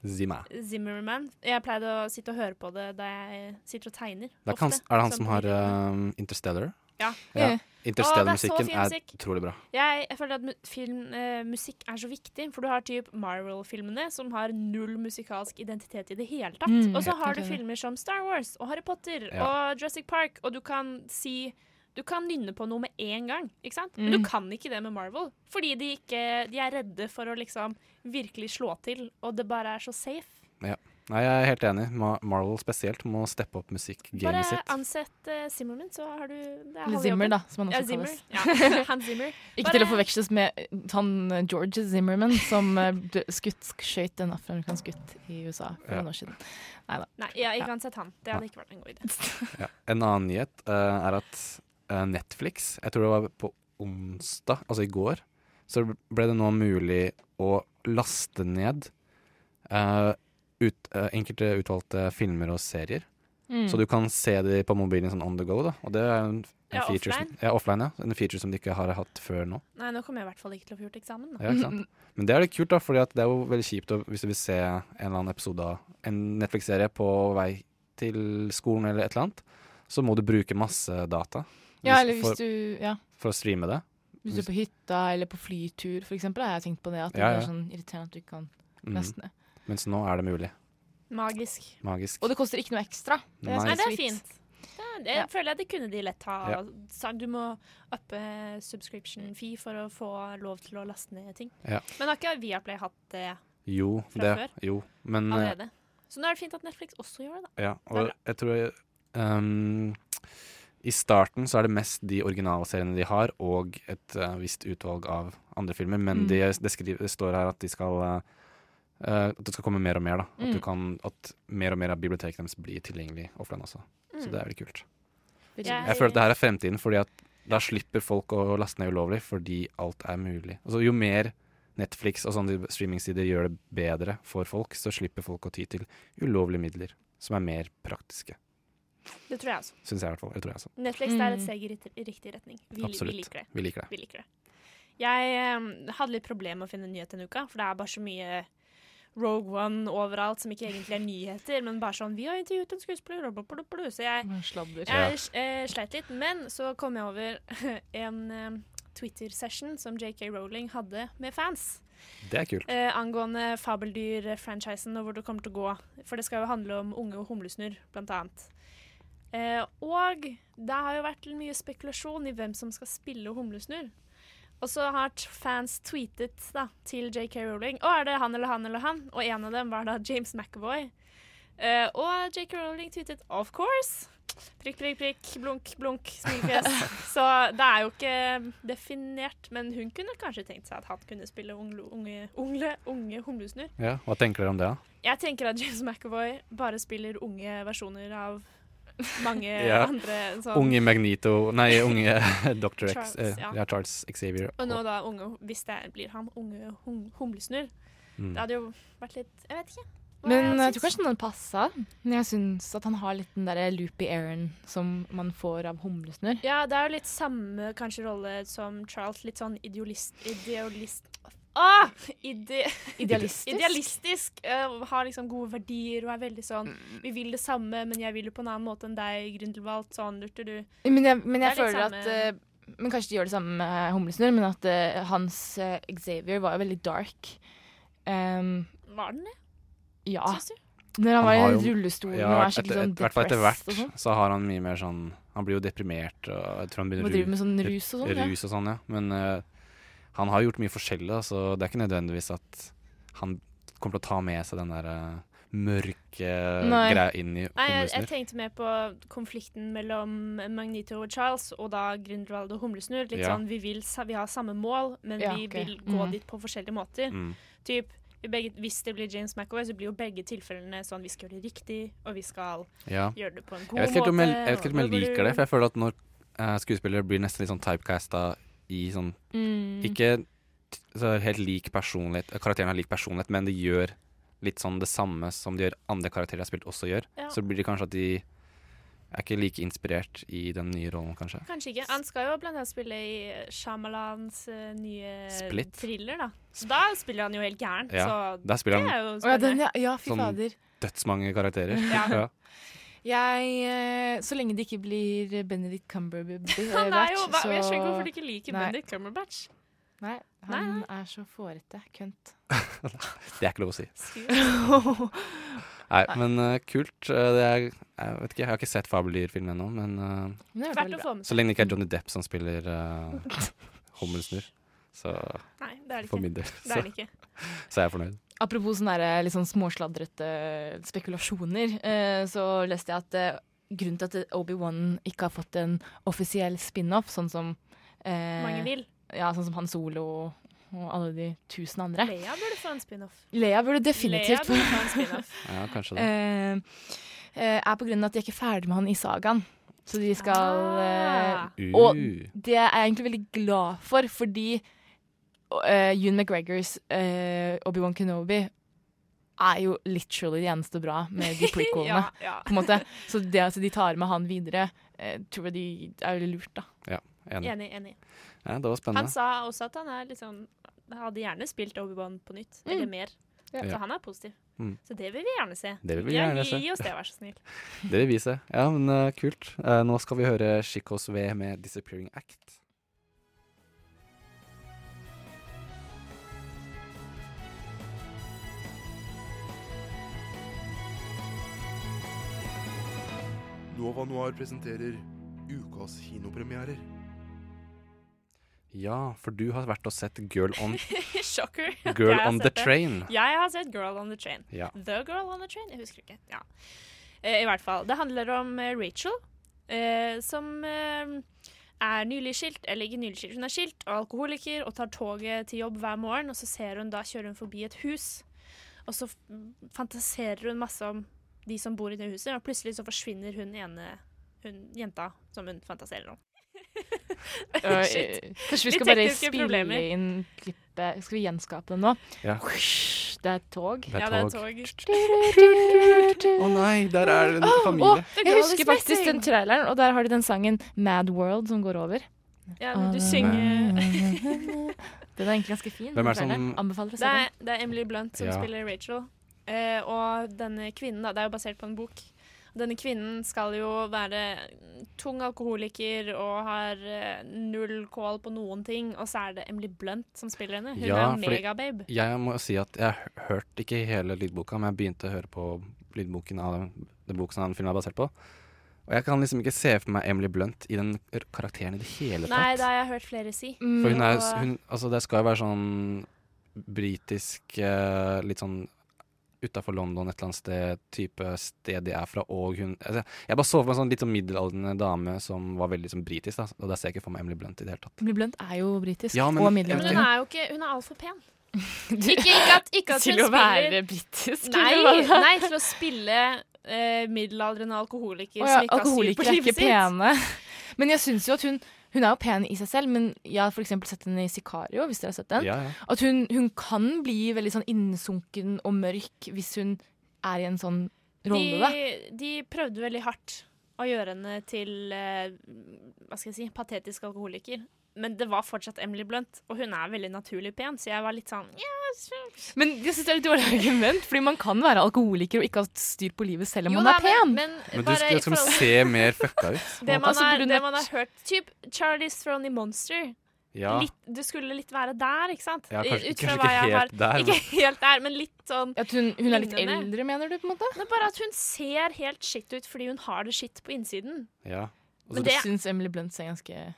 Zima.
Zimmerman. Jeg pleide å sitte og høre på det da jeg sitter og tegner.
Det er, ikke han,
ofte,
er det han
sånn
som
på
har
videregående.
um, Interstellar?
Ja. Mm.
ja.
Å, det er så
Interstellar-musikken
fin
er,
musikk.
utrolig bra.
Jeg, jeg føler at mu- film, eh, musikk er så viktig, for du har typ Marvel-filmene, som har null musikalsk identitet i det hele tatt.
Mm,
og så
helt
har du
enig.
filmer som Star Wars og Harry Potter
Ja.
og Jurassic Park, og du kan si du kan nynne på noe med en gang, ikke sant? men
Mm.
du kan ikke det med Marvel. Fordi de, ikke, de er redde for å liksom virkelig slå til, og det bare er så safe.
Ja. Nei, jeg er helt enig. Ma Marvel spesielt må steppe opp
Bare
musikkgamet sitt.
ansett eh, Zimmerman, så har du det er
Eller
halve
Zimmer,
jobben.
da, som han også
ja, Zimmer.
kalles.
Ja, [LAUGHS] Hans Zimmer.
[LAUGHS] Ikke til å
Bare-
forveksles med eh, han eh, George Zimmerman som eh, ble skutt, skjøt en afroamerikansk gutt i USA for
Ja.
noen år siden. Neida.
Nei, ja, ikke ansett han. Det hadde ikke vært en god idé.
Ja. En annen nyhet eh, er at eh, Netflix, jeg tror det var på onsdag, altså i går, så ble det nå mulig å laste ned eh, ut, eh, enkelte utvalgte filmer og serier.
Mm.
Så du kan se de på mobilen sånn on the go, da. Og det er en, en
Ja,
feature
offline.
Som, ja, offline, ja. En feature som de ikke har hatt før nå.
Nei, nå kommer jeg i hvert fall ikke til å få gjort eksamen. Da.
Ja, ikke sant? Men det er litt kult, da, Fordi at det er jo veldig kjipt å- hvis du vil se en eller annen episode av en Netflix-serie på vei til skolen eller et eller annet, så må du bruke masse data
Ja,
hvis-
eller hvis
for,
du, ja,
for å streame det.
hvis du er på hytta eller på flytur, for eksempel, har jeg tenkt på det. At det
Ja,
er
ja.
sånn irriterende at du ikke kan
Mhm.
laste ned.
Mens nå er det mulig.
Magisk.
Magisk.
Og det koster ikke noe ekstra.
Nei.
så
Nei, det er
sweet.
fint. Det, det føler jeg det kunne de lett ha.
Ja.
Sa- Du må uppe subscription fee for å få lov til å laste ned ting.
Ja.
Men har ikke Viaplay hatt det
Jo,
Fra
det.
før?
Jo, men eh,
allerede. Så nå er det fint at Netflix også gjør det, da.
Ja, og jeg tror jeg, ehm, I starten så er det mest de originale seriene de har, og et eh, visst utvalg av andre filmer. Men
Mm.
de, det, skriver, det står her at de skal eh, eh, At det skal komme mer og mer. da At, du
Mm.
kan, at mer og mer av biblioteket deres blir tilgjengelig offline også. Så
Mm.
det er veldig kult.
Veldig bra.
Jeg føler at det her er fremtiden, Fordi at da slipper folk å laste ned ulovlig fordi alt er mulig. Altså, jo mer Netflix og sånne streamingsider gjør det bedre for folk, så slipper folk å ty til ulovlige midler som er mer praktiske.
Det tror jeg også.
Syns jeg i hvert fall. Det tror jeg også.
Netflix det er et steg i ritt- i riktig retning. Vi,
Absolutt.
vi liker det.
Vi liker det.
Jeg eh, hadde litt problemer med å finne nyhet denne uka, for det er bare så mye Rogue One overalt som ikke egentlig er nyheter, men bare sånn 'Vi har intervjuet en skuespiller', og bla, bla, bla, bla. Så jeg,
Sladder.
jeg eh, sleit litt. Men så kom jeg over [LAUGHS] en eh, Twitter-session som JK Rowling hadde med fans.
Det er kult.
Eh, angående fabeldyr-franchisen og hvor det kommer til å gå. For det skal jo handle om unge og humlesnurr, blant annet. Eh, og det har jo vært mye spekulasjon i hvem som skal spille humlesnurr. Og så har t- fans tweetet da, til JK Rowling Å, er det han eller han eller han? Og en av dem var da James McAvoy. Eh, og JK Rowling tweetet 'of course'. Prikk, prikk, prikk. Blunk, blunk. Smilefjes. Så det er jo ikke definert, men hun kunne kanskje tenkt seg at han kunne spille ungle, unge, ungle, unge humlesnurr.
Ja, Hva tenker dere om det? da?
Jeg tenker at James McAvoy bare spiller unge versjoner av mange
[LAUGHS] Ja.
andre. sånn-
Unge Magnito Nei, unge [LAUGHS] Dr. X.
Charles,
eh,
ja.
ja, Charles Xavier.
Og nå da unge, hvis det blir ham, unge hum, humlesnurr.
Mm.
Det hadde jo vært litt Jeg vet ikke. hva
Men eh, jeg
jeg
tror
syns.
kanskje den hadde passa. Men jeg syns at han har litt den derre loopy airen som man får av humlesnurr.
Ja, det er jo litt samme kanskje rolle som Charles. Litt sånn idealist... idealist Ah! [LAUGHS] Ide
Idealistisk?
Idealistisk. eh, har liksom gode verdier og er veldig sånn Vi vil det samme, men jeg vil det på en annen måte enn deg, Grindelwald. Sånn lurte du.
Men jeg, men jeg
Det er litt
føler
samme-
at eh, Men kanskje de gjør det samme med humlesnurr, men at eh, hans eh, Xavier var jo veldig dark. Ehm,
Var den det?
ja.
Syns du?
Når han, var
har
i
jo-
rullestolen
ja,
og er skikkelig
etter-
sånn
et- hvert fall etter
depressed og sånn.
hvert så har han mye mer sånn Han blir jo deprimert og jeg tror han begynner
Og
å
driver med sånn rus og sånn, ja.
Rus og sånn, ja. Men eh, han har gjort mye forskjellig, da, så det er ikke nødvendigvis at han kommer til å ta med seg den der eh, mørke
Nei.
greia inn
Nei,
i
jeg, jeg
humlesnurr.
tenkte mer på konflikten mellom Magnito og Charles, og da Grindelwald og Humlesnurr. Litt
Ja.
sånn vi, vil, sa- vi har samme mål, men
Ja,
vi
ok.
vil gå
Mm.
dit på forskjellige måter.
Mm.
Typ, i begge, hvis det blir James McAvoy, så blir jo begge tilfellene sånn vi skal gjøre det riktig, og vi skal
Ja.
gjøre det på en god
Jeg vet ikke helt om
måte.
jeg, jeg, vet ikke helt om jeg
og bla, bla,
liker det, for
bla.
jeg føler at når eh, skuespillere blir nesten litt sånn typecasta i sånn
Mm.
Ikke t- så helt lik personlighet, karakteren har lik personlighet, men de gjør litt sånn det samme som de gjør andre karakterer de har spilt, også gjør.
Ja.
Så blir det kanskje at de er ikke like inspirert i den nye rollen, kanskje.
Kanskje ikke. Han skal jo blant annet spille i Shyamalans eh, nye
Split.
thriller, da. Så da spiller han jo helt gæren.
Ja,
Så
der spiller
det
han-
er jo
Å ja,
spennende.
den, ja, ja, fy
Sånn
fader.
dødsmange karakterer.
Ja.
[LAUGHS] Ja.
Jeg, eh, så lenge det ikke blir
[LAUGHS]
Benedict Cumberbatch
Han er jo, hva, jeg
så-
skjønner ikke hvorfor du ikke liker
Nei.
Benedict Cumberbatch.
Nei, han er så fårete. Kønt.
Det er ikke lov å si.
[LAUGHS]
Nei,
Nei.
men eh, kult. Eh, det er, jeg vet ikke, jeg har ikke sett Fabeldyrfilmen ennå, men eh,
Men det er Verdt veldig å bra. få med seg.
Så lenge det ikke er Johnny Depp som spiller uh, Hommelsnurr, så
Nei, det er det
For
ikke.
min del.
Det er det ikke.
så er jeg fornøyd.
Apropos sånne der, litt sånn småsladrete eh, spekulasjoner, eh, så leste jeg at eh, grunnen til at Obi-Wan ikke har fått en offisiell spin-off, sånn som eh,
Mange vil.
Ja, sånn som Han Solo og, og alle de tusen andre.
Leia burde få en spin-off.
Leia burde
Leia
Eh, definitivt
burde få en spin-off.
Ja, kanskje det.
Eh, eh, er på grunn av at de er ikke ferdig med han i sagaen. Så de [LAUGHS] skal eh,
Ah.
Og
Uh.
det er jeg egentlig veldig glad for, fordi eh, Ewan McGregors eh, Obi-Wan Kenobi er jo literally det eneste bra med
[LAUGHS]
de prequelene.
Ja, ja.
på en måte. Så det at de tar med han videre, eh, tror jeg de er veldig lurt, da.
Ja, enig.
Enig, enig.
Ja, det var
Han
spennende.
sa også at han er litt sånn Hadde gjerne spilt Obi-Wan på nytt, eller
Mm.
mer.
Ja.
Så han er positiv.
Mm.
Så det vil vi gjerne se.
Det vil vi
Ja,
gjerne
gi,
se.
Gi oss det, vær så snill.
Det vil vi se. Ja, men eh, kult. Eh, nå skal vi høre Chicos V med 'Disappearing Act'.
Nova Noir presenterer ukas kinopremierer.
[LAUGHS]
Ja, for du har vært og sett Girl on
Shocker. at
Girl
jeg har
on the
sett det.
Train.
Jeg har sett Girl on the Train.
Ja.
The Girl on the Train? Jeg husker ikke. Ja. Eh, I hvert fall. Det handler om eh, Rachel, eh, som eh, er nylig skilt, eller ikke nylig skilt, hun er skilt og alkoholiker og tar toget til jobb hver morgen, og så ser hun da kjører hun forbi et hus, og så f- fantaserer hun masse om de som bor i det huset, og plutselig så forsvinner hun ene hun, jenta som hun fantaserer om. [LAUGHS] Shit.
eh, Kanskje vi
Litt
skal bare
tekniske
spille
problemer.
inn klippet Skal vi gjenskape den nå?
Ja.
Det er et
[LAUGHS]
tog.
Det er Ja, det er et tog.
Å
nei, der er en
Å,
familie.
jeg husker faktisk den traileren, og der har de den sangen Mad World som går over.
Ja, men du synger
[LAUGHS] Den er egentlig ganske fin.
Hvem er det
den traileren.
som-
Anbefaler å
det
se
er,
den.
det er Emily Blunt som
Ja.
spiller Rachel. Eh, og denne kvinnen, da, det er jo basert på en bok. Denne kvinnen skal jo være tung alkoholiker og har eh, null kål på noen ting. Og så er det Emily Blunt som spiller henne. Hun er jo megababe.
jeg må si at jeg hø- hørte ikke hele lydboka, men jeg begynte å høre på lydboken av den boken som den filmen er basert på. Og jeg kan liksom ikke se for meg Emily Blunt i den r- karakteren i det hele tatt.
Nei, det har jeg hørt flere si.
For hun er,
Og-
hun, altså det skal jo være sånn britisk, eh, litt sånn utafor London, et eller annet sted, type sted de er fra, og hun altså, Jeg bare så for meg en sånn litt sånn middelaldrende dame som var veldig sånn britisk, da, og der ser jeg ikke for meg Emily Blunt i det hele tatt.
Emily Blunt er jo britisk.
Ja, men-
og
Ja, men hun
middelaldrende.
er jo ikke Hun er altfor pen. Ikke, ikke at, ikke at hun
Til å
spiller
være britisk, eller
Nei,
hva da?
nei til å spille eh, middelaldrende alkoholiker
Å ja,
som ikke har styr på
alkoholikere er
livet
ikke
sitt.
pene. [LAUGHS] Men jeg syns jo at hun hun er jo pen i seg selv, men jeg har for eksempel sett henne i 'Sicario'. hvis dere har sett den.
Ja, ja.
At hun, hun kan bli veldig sånn innsunken og mørk hvis hun er i en sånn rolle, da.
De, de prøvde veldig hardt å gjøre henne til eh, hva skal jeg si, patetisk alkoholiker. Men det var fortsatt Emily Blunt, og hun er veldig naturlig pen, så jeg var litt sånn ja, så-
Men jeg syns det er litt dårlig argument, fordi man kan være alkoholiker og ikke ha styr på livet selv om
Jo
man er
da, men-
pen.
Men du skulle liksom se mer fucka ut.
Det man,
Altså,
har,
burde hun
det
vært-
man har hørt Typ Charlies Throne i Monster.
Ja.
Litt, du skulle litt være der, ikke sant?
Ja, kanskje-
Ut fra
kanskje
hva
ikke
jeg
helt der, men-
Ikke helt der, men litt sånn
At hun, hun er litt
lignende.
eldre, mener du? på en måte?
Nei, bare at hun ser helt shit ut fordi hun har det shit på innsiden.
Ja. Og
Men
så-
det syns Emily Blunt ser ganske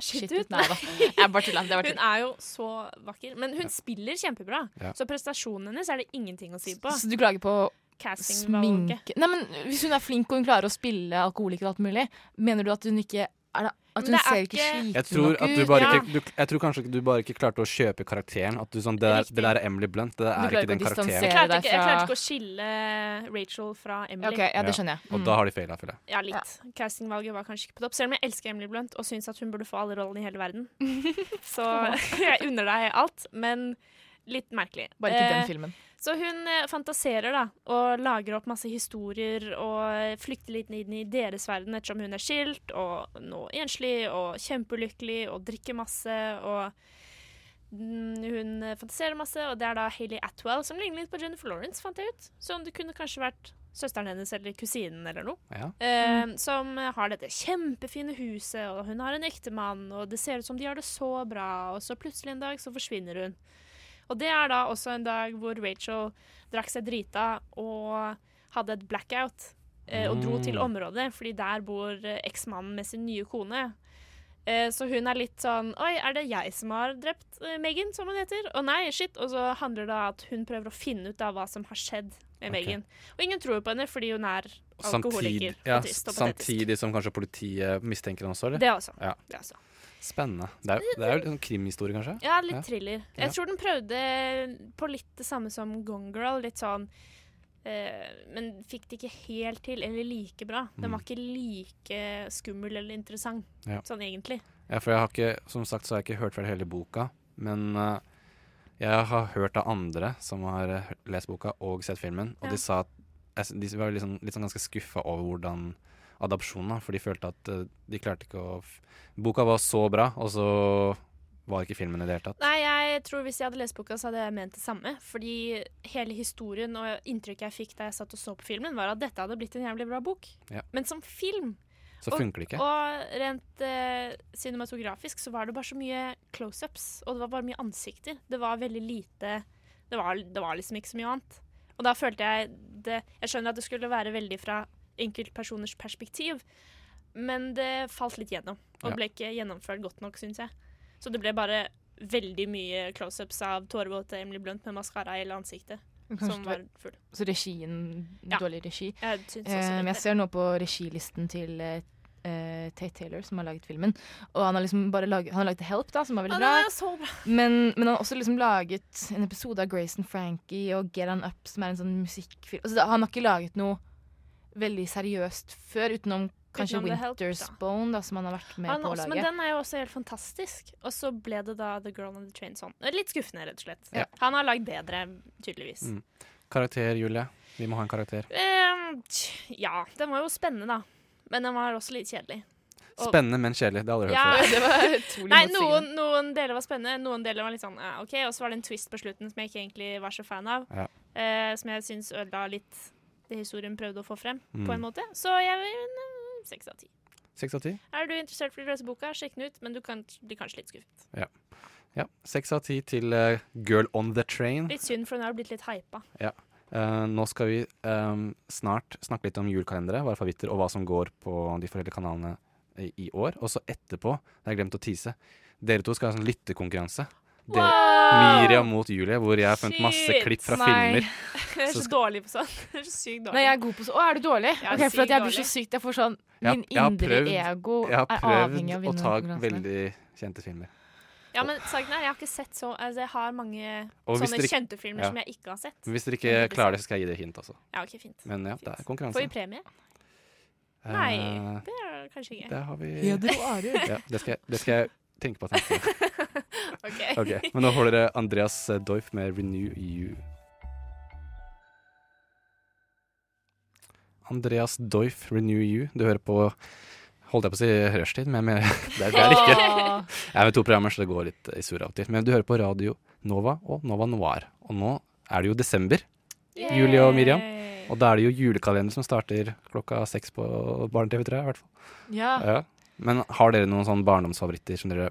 Shit
shit
ut,
ut. Nei da.
nei.
Jeg bare tuller. Det var
Hun
tull.
er jo så vakker. Men hun
Ja.
spiller kjempebra.
Ja.
Så prestasjonen hennes er det ingenting å si på.
Så du klager på
Castingvalget.
sminke Nei, men Hvis hun er flink og hun klarer å spille alkoholiker og alt mulig, mener du at hun ikke er det,
Men
At hun
det er
ser ikke
ikke-
sliten
Jeg tror,
nok
at
ut?
du bare ikke, du, jeg tror kanskje ikke du bare ikke klarte å kjøpe karakteren. At du sånn, det, der, det der er Emily Blunt, det
Du
der
klarer
er ikke den
ikke å
karakteren.
distansere
Jeg klarte, ikke, jeg
Fra-
klarte ikke å skille Rachel fra Emily.
Ok, ja, det skjønner jeg. Mm.
Og da har de feila, føler jeg.
Ja, litt. Castingvalget var kanskje ikke på topp. Selv om jeg elsker Emily Blunt og syns at hun burde få alle rollene i hele
[LAUGHS]
verden. Så [LAUGHS] jeg unner deg alt, men litt merkelig.
Bare ikke den
Eh,
filmen.
Så hun eh, fantaserer da, og lager opp masse historier og flykter litt inn i deres verden ettersom hun er skilt og nå enslig og kjempeulykkelig og drikker masse og mm, hun eh, fantaserer masse, og det er da Hayley Atwell som ligner litt på Jennifer Lawrence, fant jeg ut. Som det kunne kanskje vært søsteren hennes eller kusinen eller noe.
Ja.
Eh, som har dette kjempefine huset, og hun har en ektemann, og det ser ut som de har det så bra, og så plutselig en dag så forsvinner hun. Og det er da også en dag hvor Rachel drakk seg drita og hadde et blackout, eh, og dro
Mm.
til området, fordi der bor eh, eksmannen med sin nye kone. Eh, Så hun er litt sånn Oi, er det jeg som har drept eh, Megan, som hun heter? Å nei, shit. Og så handler det om at hun prøver å finne ut av hva som har skjedd med
Ok.
Megan. Og ingen tror på henne fordi hun er
Og
alkoholiker.
Samtidig, ja,
og tyst og patetisk.
samtidig som kanskje politiet mistenker henne også, eller?
Det også.
Ja.
Det også.
Spennende. Det er, jo- det er jo litt sånn krimhistorie, kanskje?
Ja, litt thriller. Jeg
Ja.
tror den prøvde på litt det samme som Gone Girl. Litt sånn eh, Men fikk det ikke helt til, eller like bra. Den var ikke like skummel eller interessant,
Mm. Ja.
sånn egentlig.
Ja, for jeg har ikke, som sagt så har jeg ikke hørt ferdig hele boka, men eh, jeg har hørt av andre som har eh, hø- lest boka og sett filmen, og
Ja.
de sa at jeg s- de var liksom, litt sånn ganske skuffa over hvordan adopsjonen da, for de følte at eh, de klarte ikke å f Boka var så bra, og så var ikke filmen i det hele tatt.
Nei, jeg tror hvis jeg hadde lest boka, så hadde jeg ment det samme. Fordi hele historien og inntrykket jeg fikk da jeg satt og så på filmen, var at dette hadde blitt en jævlig bra bok.
Ja.
Men som film
Så
og-
funker det ikke.
Og rent eh, cinematografisk så var det bare så mye close-ups, og det var bare mye ansikter. Det var veldig lite det var, det var liksom ikke så mye annet. Og da følte jeg det Jeg skjønner at det skulle være veldig fra enkeltpersoners perspektiv, men det falt litt gjennom. Og
Ja.
ble ikke gjennomført godt nok, syns jeg. Så det ble bare veldig mye close-ups av tårevåte Emily Blunt med maskara i hele ansiktet.
Kanskje
Som
det
var
var-
full.
Så regien
Ja.
Dårlig regi.
Jeg syns også
Eh,
det.
men jeg ser nå på regilisten til eh, eh, Tate Taylor, som har laget filmen. Og han har liksom bare laget, han har laget Help, da, som var
Ja, den
veldig bra.
er jo så bra.
Men, men han har også liksom laget en episode av Grace and Frankie og Get On Up, som er en sånn musikkfilm. Altså, da- han har ikke laget noe veldig seriøst før, utenom kanskje
Utenom The Help, da.
Winter's Bone, da, som han har vært med
Han
på å
også,
lage.
men
[LAUGHS]
den er jo også helt fantastisk. Og så ble det da The Girl on the Train sånn. Litt skuffende, rett og slett.
Ja.
Han har lagd bedre, tydeligvis.
Mm. Karakter, Julie. Vi må ha en karakter.
Eh, tj, ja, den var jo spennende, da. Men den var også litt kjedelig. Og-
Spennende, men kjedelig. Det har jeg
Ja,
aldri hørt
det
før.
var
utrolig
Nei, noen,
motsigende.
noen deler var spennende, noen deler var litt sånn eh, OK. Og så var det en twist på slutten som jeg ikke egentlig var så fan av.
Ja.
eh, som jeg syns ødela litt det historien prøvde å få frem,
Mm.
på en måte. Så jeg vil eh, seks av ti.
Seks av ti?
Er du interessert for å lese boka, sjekk den ut, men du kan bli kanskje litt skuffet.
Ja. ja. Seks av ti til eh, Girl on the Train.
Litt synd, for hun har blitt litt hypa.
Ja. Eh, nå skal vi ehm, snart snakke litt om julekalendere, våre favoritter, og hva som går på de forskjellige kanalene i, i år. Og så etterpå, det har jeg glemt å tease, dere to skal ha en sånn lyttekonkurranse. Dere-
Wow!
Miriam mot Julie, hvor jeg har funnet masse
Shit,
klipp fra
nei.
filmer.
Jeg er
Så
så
skal-
dårlig på sånn. [LAUGHS] Jeg er så sykt dårlig.
Nei, jeg er god på så Å, er du dårlig?
Jeg er
Ok, for
sykt
at jeg blir så
dårlig.
sykt Jeg får sånn
Jeg har-
Min
jeg har
indre
prøvd-
ego
jeg har
er
prøvd
avhengig av å
å
vinne
ta
konkurransene.
veldig kjente filmer.
Ja, men saken er, jeg har ikke sett så altså, Jeg har mange
Og hvis
sånne
dere ikke-
kjente filmer
ja.
som jeg ikke har sett.
Men Hvis
Men
dere ikke
blir
klarer det,
sett.
så skal jeg gi dere hint, altså.
Ja, ok, fint.
Men ja, det er
Får vi
konkurranse.
premie? Nei,
Eh,
det er kanskje ikke.
Der har vi
Heder og ære.
Ja, det skal, jeg- det skal jeg tenke på. Tenke på.
Ok.
ok.
[LAUGHS]
Men nå får dere Andreas eh, Doif med 'Renew You'. Andreas Doif, 'Renew You'. Du hører på Holdt jeg på å si rushtid, men jeg mener- [LAUGHS] det er det er det ikke.
Åh.
Jeg er med to programmer, så det går litt eh, i surr av og til. Men du hører på Radio Nova og Nova Noir. Og nå er det jo desember. Julie og Miriam. Og da er det jo julekalender som starter klokka seks på Barne-TV3, i hvert fall.
Ja.
Men har dere noen sånne barndomsfavoritter som dere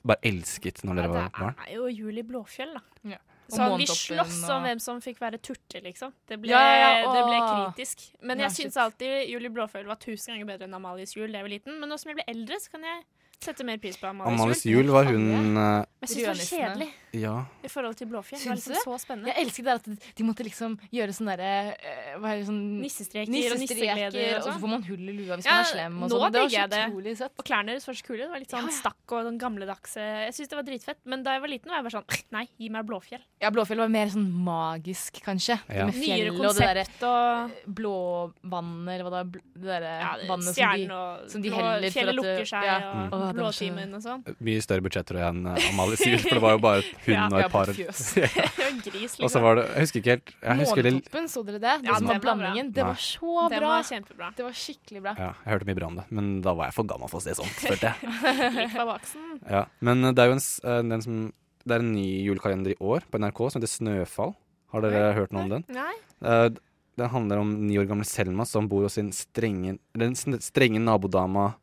bare elsket når dere var barn?
Det er jo Julie Blåfjell, da.
Ja. Og
Så vi
Månetoppen
sloss om
og-
hvem som fikk være turte, liksom. Det ble,
Ja, ja, ja,
det ble
åh.
kritisk. Men
Ja,
jeg
shit.
syns alltid Julie Blåfjell var tusen ganger bedre enn Amalies jul da jeg var liten. Men nå som jeg ble eldre, så kan jeg sette mer pris på Amalies,
Amalies jul var hun eh,
Men jeg syns det var
Rødnissene.
kjedelig
Ja.
i forhold til Blåfjell.
Syns
det
du
var liksom så spennende.
Jeg elsket det at de måtte liksom gjøre sånne derre eh, hva er det, sånn
Nissestreker og
nissestreker,
nissegleder og
og så
sånn.
får man hull i lua hvis man er slem. Og
nå
sånn. det var
digger
så
jeg det.
utrolig søtt.
Og klærne deres var så kule. Det var litt sånn stakk og den gamledagse Jeg syns det var dritfett. Men da jeg var liten, var jeg bare sånn Nei, gi meg Blåfjell.
Ja, Blåfjell var mer sånn magisk, kanskje.
Ja.
Med
Nyere
fjellet og det derre
konsept og
blåvannet, eller hva det er. bl- Det derre
det-
eh, vannet som de,
stjernen og
som de
blå-
heller for
fjellet
at det-
lukker seg, og
Åh, det var så-
Blåtimen og
[LAUGHS]
sånn.
Mye større budsjetter enn eh, Amalies jul, for det var jo bare
[LAUGHS]
hun
Ja,
og
ja,
et par.
på fjøs.
Det var en gris,
[LAUGHS]
liksom.
Og så var det Jeg husker ikke helt jeg husker det,
Månetoppen, så dere det? Det
Ja, den
som var
var bra.
blandingen. Det
Nei.
var så
Den
bra.
var kjempebra.
Det var skikkelig bra.
ja, Jeg hørte mye bra om det, men da var jeg for gammel for å se
[LAUGHS]
sånt, følte jeg.
Gikk fra baksen.
Ja. Men eh, det er jo en, s- eh, den som, det er en ny julekalender i år på NRK som heter Snøfall. Har dere hørt noe om den?
Nei.
Eh, d- Den handler om ni år gamle Selma som bor hos sin strenge, den sn- strenge nabodama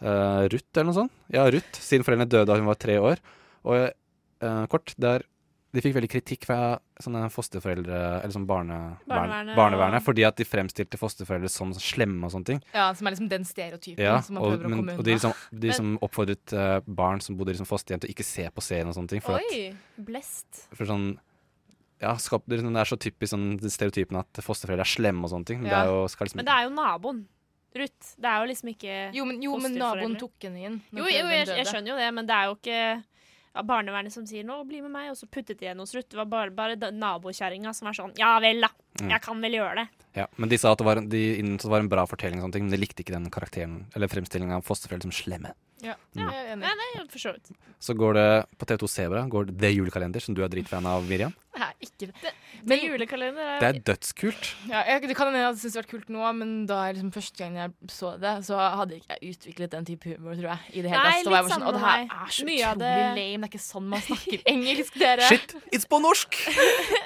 eh, Ruth, eller noe sånt. Ja, Ruth, siden foreldrene døde da hun var tre år. Og eh, kort, der de fikk veldig kritikk fra sånne fosterforeldre, eller sånn barne, barnevernet,
Barnevernet
barnevernet
og-
fordi at de fremstilte fosterforeldre som slemme og sånne ting.
Ja, som er liksom den stereotypen
Ja,
som man
og,
prøver å
men,
komme unna.
og de, liksom, de
Men-
som oppfordret eh, barn som bodde i liksom fosterhjem til å ikke se på serien og sånne ting. For at
Oi, blest.
for sånn ja, skap, det, er sånn- det er så typisk sånn, stereotypen at fosterforeldre er slemme og sånne ting. Men
Ja.
det er jo, skal liksom,
Men det er jo naboen. Ruth. Det er jo liksom ikke
Jo, men, jo, men naboen tok henne inn. når
Jo, jo
foreldrene
jeg,
døde.
jeg skjønner jo det, men det er jo ikke ja, barnevernet som sier 'nå, bli med meg', og så puttet de henne hos Ruth. Det var bare, bare da- nabokjerringa som var sånn 'ja vel, da.
Mm.
Jeg kan vel gjøre det'.
ja, men de sa at det var, en- de, innså det var en bra fortelling, og sånne ting, men de likte ikke den karakteren eller fremstillingen av fosterforeldre som slemme.
Ja, jeg
Mm.
er enig. Ja, det er jo for så vidt.
Så går det på TV2 Sebra går det The Julekalender, som du er dritfan av, Miriam.
Nei, ikke det.
Men julekalender er
Det er dødskult.
Ja, jeg, det kan hende jeg hadde syntes det vært kult nå, men da jeg liksom første gang jeg så det, så hadde ikke jeg utviklet den type humor, tror jeg. I det hele
Nei,
tatt. Så var jeg
litt
bare sånn,
samme
«Å, det
med
her
meg.
er så
Mye av
utrolig
det-
lame. Det er ikke sånn
[LAUGHS]
man snakker engelsk, dere.
Shit, it's på norsk!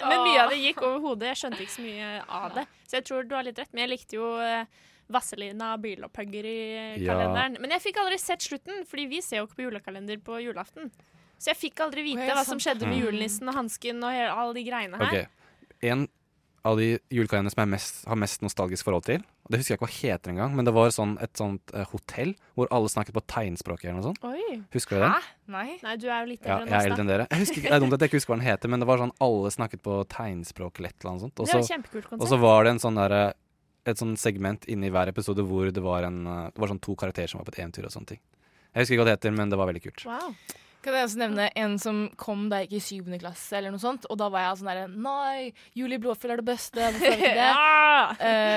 Men mye av det gikk over hodet. Jeg skjønte ikke så mye av det. Så jeg tror du har litt rett. Men jeg likte jo eh, Vazelina bilopphugger i eh,
Ja.
kalenderen. Men jeg fikk aldri sett slutten, fordi vi ser jo ikke på julekalender på julaften. Så jeg fikk aldri vite
ja,
hva som
sant.
skjedde med
Mm.
julenissen og hansken og hele, alle de greiene her.
Ok, en av de julekalenderne som jeg mest, har mest nostalgisk forhold til. Og det husker jeg ikke hva heter engang, men det var sånn, et sånt eh, hotell hvor alle snakket på tegnspråk eller noe sånt.
Oi.
Husker du den?
Nei. Nei, du er jo litt
Ja,
eldre
jeg er eldre enn dere. Jeg husker ikke, det er dumt at jeg ikke husker hva den heter, men det var sånn alle snakket på tegnspråk eller et eller annet sånt. Og
Det er
så-
et kjempekult konsept.
Og så var det en sånn derre- et sånn segment inni hver episode hvor det var, en, eh, det var sånn to karakterer som var på et eventyr og sånne ting. Jeg husker ikke hva det heter, men det var veldig kult.
[LAUGHS]
Kan jeg også nevne en som kom da jeg gikk i syvende klasse, eller noe sånt, og da var jeg sånn derre Nei, Julie Blåfjell er det beste, hvorfor er det ikke det?
[LAUGHS] Ja.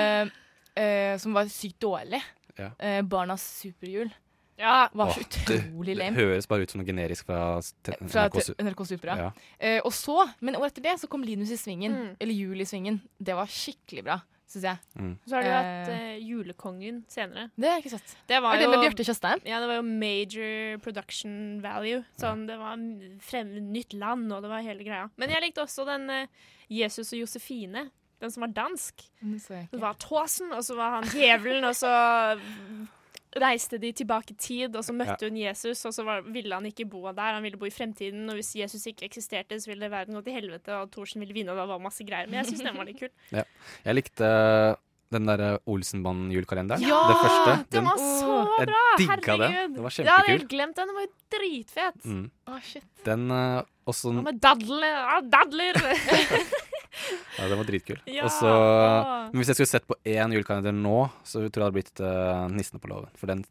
Eh, eh, som var sykt dårlig.
Ja.
Eh, barnas superjul.
Ja.
Var så
Åh, det-
utrolig
Det
lame.
høres bare ut som noe generisk fra, s-
Eh,
te-
Fra
NRK, Su-
NRK Supra.
Ja.
Eh, og så, men året etter det, så kom Linus i svingen. Eller Jul i svingen. Det var skikkelig bra, syns jeg.
Mm.
Så har du hatt
Eh,
eh, Julekongen senere.
Det har jeg ikke sett.
Det var
er det
jo-
med Bjarte Tjøstheim?
Ja, det var jo major production value. Sånn, Det var m- frem, nytt land, og det var hele greia. Men jeg likte også den eh, Jesus og Josefine. Den som var dansk. Det var Tåsen, og så var han djevelen, og så reiste de tilbake i tid, og så møtte
Ja.
hun Jesus, og så var, ville han ikke bo der, han ville bo i fremtiden, og hvis Jesus ikke eksisterte, så ville verden gå til helvete, og Thorsen ville vinne, og det var masse greier. Men jeg syns den var litt kul.
Ja. Jeg likte eh, den derre Olsenbanden-julekalenderen.
Ja,
det første.
Ah, Den var så bra!
Jeg digga den.
Herregud.
Det var
Jeg hadde
kjempekul.
helt glemt den. Den var jo dritfet.
Mm.
Å, shit.
Den eh, også
Og Med dadler. ah,
[LAUGHS]
dadler.
Ja, den var dritkul.
Ja.
Og så, men hvis jeg skulle sett på én julekalender nå, så tror jeg det hadde blitt eh, 'Nissene på låven'. For den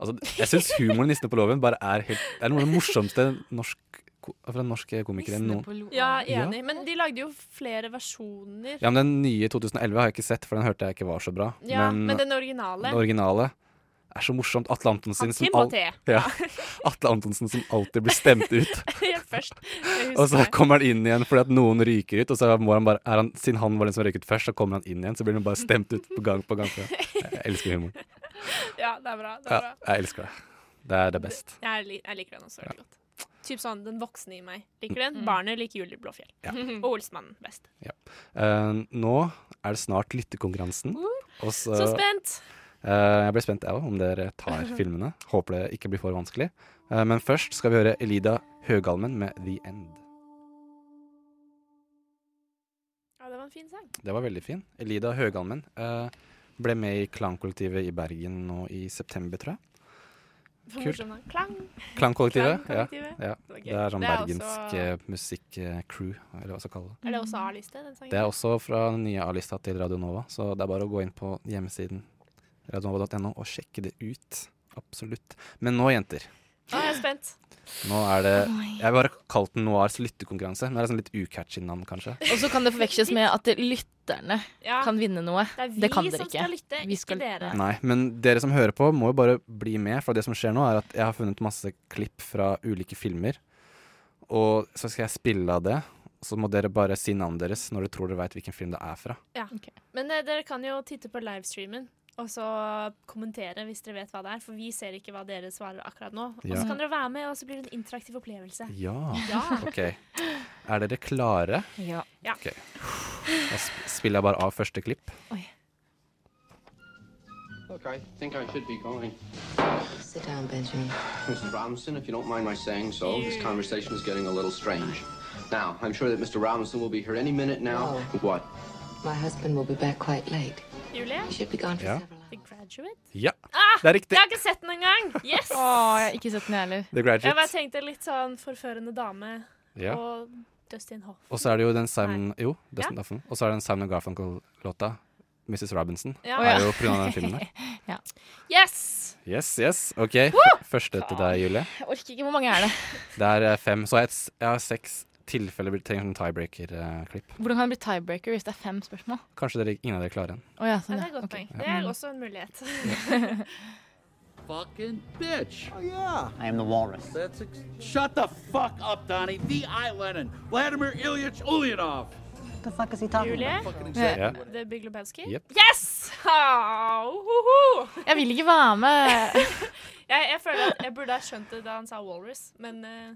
Altså, jeg syns humoren i 'Nissene på låven' bare er helt Det er noe av det morsomste norsk, ko- fra norske komikere noen
ja, enig. Men de lagde jo flere versjoner.
Ja, men Den nye 2011 har jeg ikke sett, for den hørte jeg ikke var så bra.
Ja,
eh,
men den originale-
Den originale er så morsomt. Atle Antonsen
Han
som,
Timothée.
ja. Atle Antonsen som alltid blir stemt ut.
[LAUGHS] Helt først. Jeg husker
[LAUGHS] Og så
det.
kommer han inn igjen fordi at noen ryker ut. Og så må han bare, er han, siden han var den som røyk ut først, så kommer han inn igjen. Så blir han bare stemt ut på gang på gang. på gang. Jeg elsker
[LAUGHS]
humoren.
Ja, det er bra. Det er
Ja,
bra.
jeg elsker det. Det er det best.
Jeg, li- jeg liker den også veldig godt. Typ sånn den voksne i meg liker den. Barnet liker Julie Blåfjell. Og Olsmannen best.
Ja. Eh, nå er det snart lyttekonkurransen. Og
Så spent!
Eh, jeg blir spent, jeg òg, om dere
[LAUGHS]
tar filmene. Håper det ikke blir for vanskelig. Eh, men først skal vi høre Elida Høgalmen med 'The End'.
Ja, det var en fin sang.
Det var veldig fin. Elida Høgalmen eh, ble med i Klankollektivet i Bergen nå i september, tror jeg.
For
Kult.
morsom navn. Klang.
Klangkollektivet. Ja,
Klangkollektivet.
ja.
Det var gøy.
Det er sånn
Det er
bergensk
også-
eh, musikk-crew, eller hva skal kalle det.
Er det også A-liste, den sangen?
Det er også fra den nye A-lista til Radio Nova, så det er bare å gå inn på hjemmesiden radionova.no og sjekke det ut. Absolutt. Men nå, jenter.
Nå er jeg spent.
Nå er det Jeg har bare kalt den Noirs lyttekonkurranse. Men det er sånn litt ucatchy navn, kanskje.
Og så kan det forveksles med at lytterne
Ja.
kan vinne noe.
Det er vi som
kan dere ikke.
skal lytte,
Vi skal-
ikke dere.
Nei, men dere som hører på, må jo bare bli med. For det som skjer nå, er at jeg har funnet masse klipp fra ulike filmer. Og så skal jeg spille av det. Så må dere bare si navnet deres når dere tror dere veit hvilken film det er fra.
Ja. Men eh, dere kan jo titte på livestreamen. Og så kommentere hvis dere vet hva det er, for vi ser ikke hva dere svarer akkurat nå. Og
Ja. Mm.
så kan dere være med, og så blir det en interaktiv opplevelse.
Ja.
ja.
OK. Er dere klare?
Ja. Ja.
Ok. Da sp- spiller jeg bare av første klipp.
Look, I think I should be going.
Sit down, Benjamin.
Mrs. Robinson, if you don't mind my saying so, this conversation is getting a little strange. Now, I'm sure that Mr. Robinson will be here any minute now. What?
My husband will be back quite late.
Julie?
He should be gone for
Ja.
several
The Graduate?
Ja,
Ah,
det er riktig.
Jeg har ikke sett den engang! Yes!
Å, jeg har ikke sett den heller.
The Graduate.
Jeg bare tenkte litt sånn forførende dame
Ja.
og Dustin Hoff.
Og så er det jo den Simon Jo,
Ja.
Dustin Duffin. Og så er det den Simon Garfunkel-låta, 'Mrs. Robinson',
Ja.
er jo pga. den filmen
[LAUGHS]
der.
Yes!
Yes, yes. OK. f- Første til deg, Julie.
Jeg orker ikke. Hvor mange er det?
Det er eh, fem. Så jeg har, et, s- jeg har seks tilfeller vi trenger en tiebreaker-klipp.
Hvordan kan det bli tiebreaker hvis det er fem spørsmål?
Kanskje dere, ingen av dere klarer en.
Å ja,
Ja,
sånn, ja.
det er et godt
Ok.
poeng. Det er også en mulighet.
Fucking bitch. Oh,
yeah.
I am the walrus. That's ex- Shut the fuck up, Donnie. The I Lenin. Vladimir Ilyich Ulyanov.
The fuck is he
Julie?
exactly
Ja.
The Big Lebowski?
Yep.
Yes! Ah, uhuhu!
Jeg vil ikke være
[LAUGHS]
med.
Jeg, jeg føler at jeg burde ha skjønt det da han sa Walrus, men eh,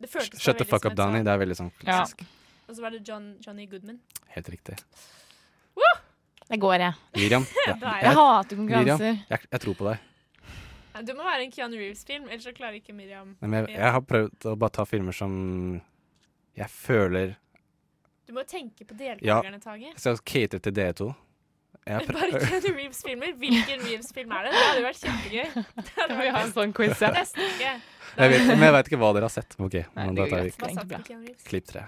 det føltes
Shut the
bare veldig
fuck
som
up,
et
Danny.
sånn-
Det er veldig sånn klassisk.
Og så var det John, Johnny Goodman.
Helt riktig.
Det går, jeg.
[LAUGHS]
Miriam.
Da er jeg-
Jeg hater konkurranser.
Miriam, jeg, jeg tror på deg.
Ja, Du må være en Keanu Reeves-film, ellers så klarer ikke Miriam
Nei, Men jeg, jeg har prøvd å bare ta filmer som jeg føler
Du må tenke på
Ja.
deltakerne, Tage.
Så jeg cater til dere to.
[LAUGHS]
Jeg pr-
Bare Reeves-filmer. Hvilken Reeves-film er det? Det hadde jo vært
[LAUGHS]
kjempegøy. Det hadde vært
ha en sånn quiz, ja.
Neste uke.
jeg vet, men jeg vet ikke hva dere har sett. Ok, men
det
da
går
tar
greit.
vi
Hva sa du,
klipp-
Keanu Reeves?
klipp tre.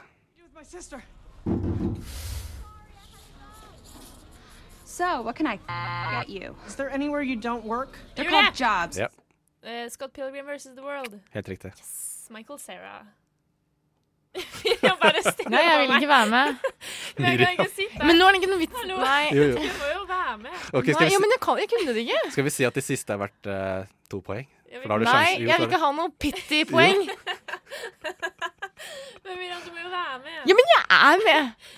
My sister. So, what can I get you? Is there anywhere you don't work? They're
You're
called
not-
jobs.
Ja,
Eh, Scott Pilgrim versus The World.
helt riktig.
Yes, Michael
[LAUGHS]
Cera. jeg bare stiller
Nei, jeg vil
meg.
ikke være med.
Men jeg kan ikke sitte her.
Men nå er det ikke noe vits.
Hallo.
Nei.
Jo, jo.
[LAUGHS]
Du må jo være med.
Ok, skal
Nei,
vi
ja,
si-
men jeg, kan, jeg kunne det ikke.
Skal vi si at det siste er verdt eh, to poeng? For da har du
Nei,
sjanse. Jo,
jeg vil
så
ikke
har
ha noe pity-poeng.
Men Miriam, du må jo være med.
Ja, men jeg er med!
du-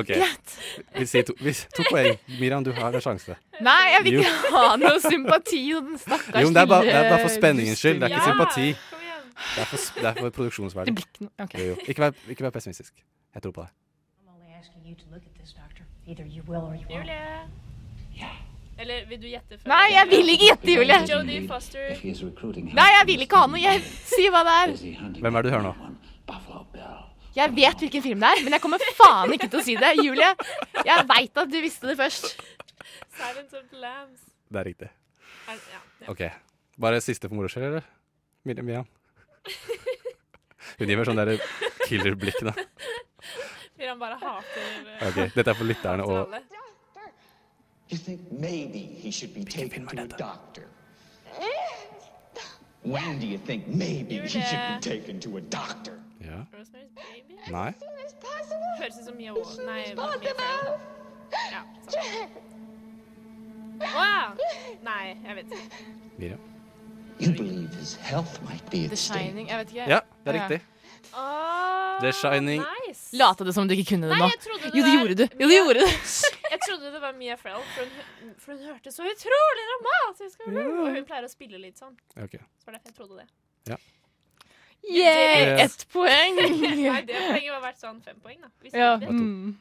Ok.
Greit.
Vi sier to, vi, to poeng. Miriam, du har en sjanse.
Nei, jeg vil
Jo.
ikke ha noe sympati hos den stakkars
Jo, men det er bare, det
lille
er bare for spenningens skyld. Det er ikke
dusten.
sympati. Det er for, s- det er for produksjonsverdi.
Det blir ikke noe- ok.
Jo, jo. Ikke vær, ikke vær pessimistisk. Jeg tror på deg.
asking you to look at this, Doctor. Either you will or you won't.
Julie. Eller vil du gjette før?
Nei, jeg vil ikke gjette, Julie.
Jodie Foster.
Nei, jeg vil ikke ha noe. Jeg, si hva det er.
Hvem er det du hører nå?
Jeg vet hvilken film det er, men jeg kommer faen ikke til å si det. Julie, jeg veit at du visste det først.
Silence of the Lambs.
Det er riktig.
Er, ja.
OK. Bare siste for moro skyld, eller? Mir- Miriam? Hun gir meg sånne der killer-blikk, da.
Miriam bare hater eh,
Ok, Dette er for lytterne
hater
og
alle.
You think maybe he should be taken to a doctor? When do you think maybe he should be taken to a doctor?
Ja.
Rosemary's Baby?
Nei.
Høres ut som Mia Wa- Nei, hva heter det? Ja, sånn. Å ja. Nei, jeg vet ikke.
Miriam.
You believe his health might be at stake.
Shining, jeg vet ikke.
Ja, det er riktig. The Shining.
Ah, Nice.
Lata det som du ikke kunne det
Nei,
nå.
jeg trodde det
Jo, det
var-
gjorde du. Jo, det gjorde du.
Jeg trodde det var Mia Farrell, for hun, hø- for hun hørte så utrolig dramatisk ut!
Ja.
Og hun pleier å spille litt sånn.
Ok.
Så var det derfor jeg trodde det.
Yeah,
Yes.
ett
[LAUGHS]
poeng.
Nei, det poenget var verdt sånn fem poeng, da. Hvis
Ja.
ikke det.
Mm.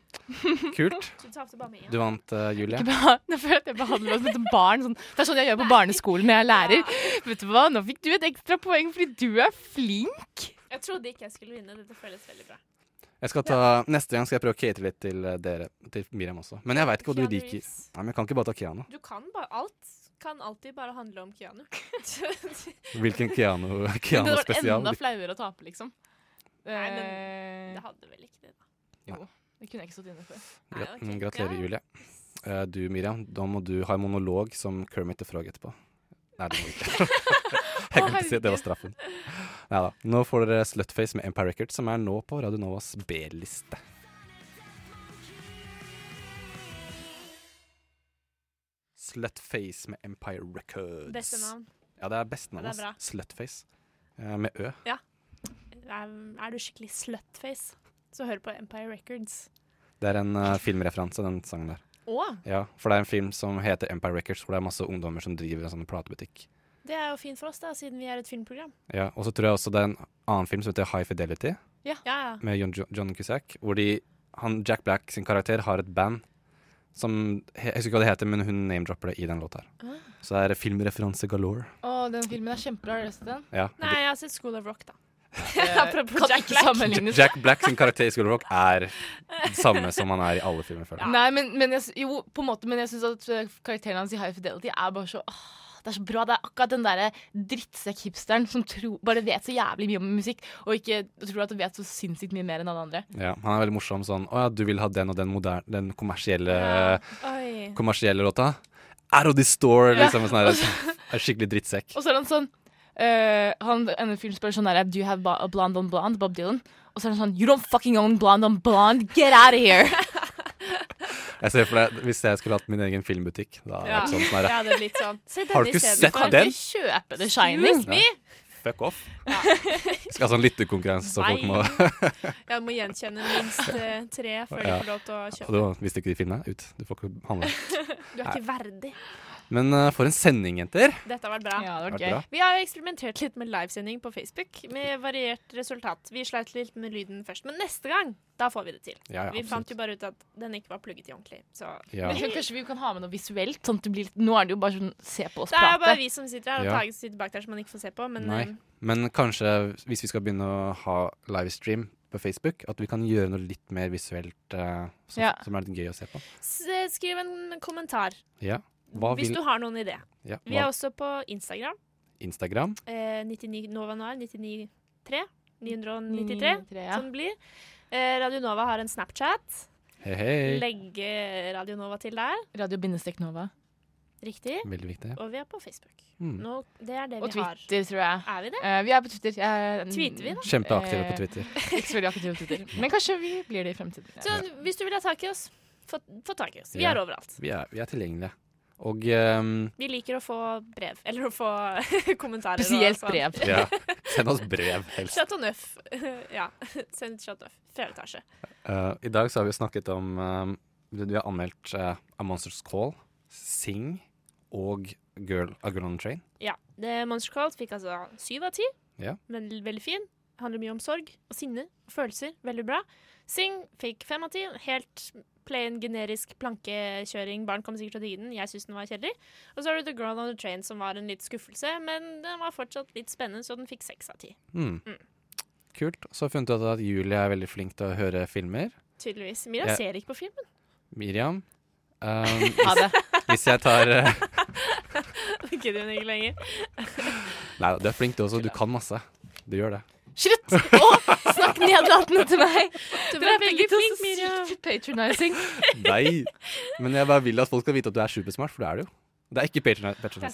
Kult.
Så du tapte bare med én.
Du vant, eh, Julie.
Ikke bare- [LAUGHS] Nå føler jeg at jeg behandler meg som et barn. Sånn. Det er sånn jeg gjør på barneskolen når jeg lærer. Vet du hva, Nå fikk du et ekstra poeng fordi du er flink.
Jeg trodde ikke jeg skulle vinne. Dette føles veldig bra.
Jeg skal ta, Neste gang skal jeg prøve å catere litt til eh, dere. Til Miriam også. Men jeg veit ikke hva du
Keanu
liker. Nei, men Jeg kan ikke bare ta Keanu.
Du kan bare Alt kan alltid bare handle om Keanu. [LAUGHS]
Hvilken Keanu,
Men
Keanu
det hadde vært
spesial?
enda flauere å tape, liksom.
Nei,
Eh,
men det hadde vel ikke det, da.
Jo, det kunne jeg ikke stått inne for.
Gra mm, Gratulerer, Julie. Eh, du, Miriam, da må du ha en monolog som Kermit the Frog etterpå. Nei, det må du
[LAUGHS]
ikke. Jeg glemte å si at det var straffen. Nei da. Nå får dere Slutface med Empire Records, som er nå på Radio Novas B-liste. Slutface med Empire Records.
Beste navn.
Ja, det er beste navn.
Ja, det er
ass. Slutface. Eh, med Ø.
Ja. Er, er du skikkelig slutface, så hør på Empire Records.
Det er en eh, filmreferanse, den sangen der.
Å?
Ja, For det er en film som heter Empire Records, hvor det er masse ungdommer som driver en sånn platebutikk.
Det er jo fint for oss, da, siden vi er et filmprogram.
Ja, Og så tror jeg også det er en annen film som heter High Fidelity,
Ja. ja,
med John, John Cusack, hvor de, han, Jack Black sin karakter har et band som Jeg husker ikke hva det heter, men hun namedropper det i den låta. her.
Ah.
Så det er filmreferanse galore.
Å, den filmen er kjempebra. Har du sett den?
Ja.
Nei, jeg har sett School of Rock, da.
Kan
[LAUGHS] Apropos Jack
ikke
Black.
sammenlignes.
Jack Black sin karakter i School of Rock er det samme som han er i alle filmer. føler jeg.
Nei, men, men jeg, s- jo, på en måte, men jeg syns at eh, karakteren hans i High Fidelity er bare så åh, Det er så bra. Det er akkurat den derre drittsekk-hipsteren som tro, bare vet så jævlig mye om musikk, og ikke tror at du vet så sinnssykt mye mer enn alle andre.
Ja, han er veldig morsom sånn Å ja, du vil ha den og den, moderne, den kommersielle,
Oi.
kommersielle låta? Out of this store!
Ja.
Liksom, sånn her, er skikkelig drittsekk.
Og så er han sånn eh, han, En fyren spør sånn der Do you have ba- a blonde on blonde? Bob Dylan. Og så er han sånn You don't fucking own blonde on blonde! Get out
[LAUGHS]
of here!
Jeg ser for deg, Hvis jeg skulle hatt min egen filmbutikk da,
Ja.
ja. sånn, sånn, her,
Ja, det er litt sånn. Se
Har du
den
ikke
isteden.
sett
Kan
den?
ikke
kjøpe The Shining.
Excuse me?
Fuck off. Skal ha sånn lyttekonkurranse, så folk må
[LAUGHS] Jeg må gjenkjenne minst eh, tre før du
Ja.
får lov til å
Og
kjøpe.
du visste ikke de filmene? Ut. Du får ikke handle.
Du er ikke verdig.
Men eh, for en sending, jenter.
Dette har vært bra.
det har vært Vært gøy. bra.
Vi har jo eksperimentert litt med livesending på Facebook, med variert resultat. Vi sleit litt med lyden først, men neste gang, da får vi det til.
Ja, ja,
vi
absolutt.
fant jo bare ut at den ikke var plugget i ordentlig, så
Ja.
Men kanskje vi kan ha med noe visuelt? Sånn at det blir litt, nå er det jo bare sånn Se på oss
Det er jo
prate.
bare vi som sitter her, og
Ja.
Tage sitter bak der som man ikke får se på, men
Nei.
eh,
Men kanskje hvis vi skal begynne å ha livestream på Facebook. At vi kan gjøre noe litt mer visuelt eh, som,
Ja.
som er litt gøy å se på.
S- Skriv en kommentar
Ja. Hva
hvis
vil
du har noen idé.
Ja,
Vi er
hva-
også på Instagram.
Instagram?
Eh, 99, Nova Noir 993. 993,
993, Mm. ja.
som det blir. Eh, Radio Nova har en Snapchat.
Hei, hei.
Legge Radio Nova til der.
Radio-Nova.
Riktig.
Veldig viktig.
Og vi er på Facebook.
Mm.
Nå, det er det
Og
vi har.
Twitter, tror jeg.
Er vi det?
Eh, vi er på Twitter. Jeg,
Tweeter vi, da?
Kjempeaktive på
Eh,
Twitter.
[LAUGHS] Ikke så veldig aktive på Twitter. Men kanskje vi blir det i fremtiden.
Så hvis du vil ha tak i oss, få, få tak i oss. Vi
Ja.
er overalt.
Vi er, vi er tilgjengelige. Og ehm,
Vi liker å få brev, eller å få [LAUGHS] kommentarer. og
Spesielt
sånn.
brev.
[LAUGHS] ja, send oss brev, helst.
Chateau Neuf. [LAUGHS] ja, send Chateau Neuf. Fjerde etasje.
Eh, I dag så har vi snakket om ehm, Vi vi har anmeldt eh, A Monster's Call, Sing og Girl, A Girl on a Train.
Ja. The Monster Cult fikk altså syv av ti,
Ja.
men veldig fin. Handler mye om sorg og sinne og følelser. Veldig bra. Sing fikk fem av ti. Helt plain, generisk plankekjøring. Barn kommer sikkert til å digge den. Jeg syns den var kjedelig. Og så har du The Girl on the Train, som var en litt skuffelse, men den var fortsatt litt spennende, så den fikk seks av ti.
Mm. Kult. Så har jeg funnet ut at Julie er veldig flink til å høre filmer.
Tydeligvis. Mira
Jeg-
ser ikke på filmen. [LAUGHS]
[LAUGHS] Miriam ehm, hvis, hvis jeg tar eh, [LAUGHS]
Gidder hun ikke lenger.
Nei, du er flink du også. Du kan masse. Du gjør det.
Slutt å snakke nedlatende til meg!
Du var
Dere er begge
veldig
to
flink,
så
Miriam.
sykt patronizing.
Nei. Men jeg bare vil at folk skal vite at du er supersmart, for det er du jo. Det er ikke patron. patron. Nei,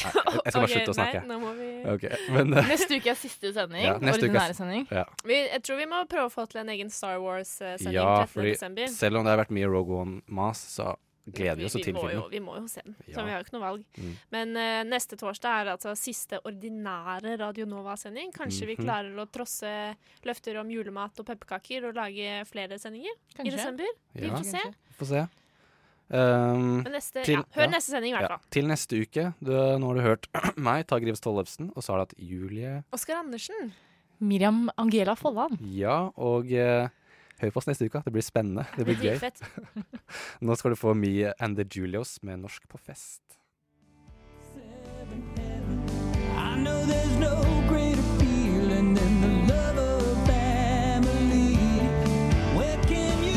jeg jeg skal bare
Ok,
slutte å snakke.
Nei, nå må vi...
Ok, men, eh,
Neste uke er siste sending.
Ja, neste uke er
ordinære
s-
sending.
ja.
Vi, jeg tror vi må prøve å få til en egen Star Wars-sending
Ja,
13.
fordi
desember.
selv om det har vært mye Rogue One-mas, så gleder vi oss jo
vi
til
må jo,
filmen.
vi må jo se den,
Ja.
så vi har jo ikke noe valg.
Mm.
Men eh, neste torsdag er altså siste ordinære Radio Nova-sending. Kanskje vi
Mhm.
klarer å trosse løfter om julemat og pepperkaker og lage flere sendinger i
Kanskje.
desember. Vi
Ja.
får se.
Få se. Ehm,
Men neste- ja, hør neste sending i hvert
Ja,
fall.
Til neste uke. Du, nå har du hørt [CLEARS THROAT] meg, Tage Rivs Tollefsen, og så har du hatt Julie
Oskar Andersen.
Miriam Angela Folland.
Ja, og eh, hør på oss neste uke. Det blir spennende. Det blir gøy. Nå skal du få Me and the Julios med Norsk på fest.
I know there's no greater feeling than the love of family. Where can you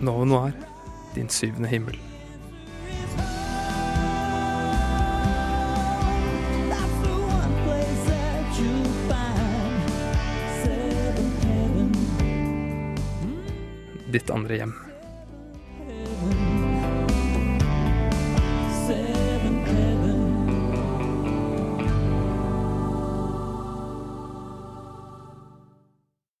Nova Noir, din syvende himmel.
place that you find? Seven heaven.
Ditt andre hjem.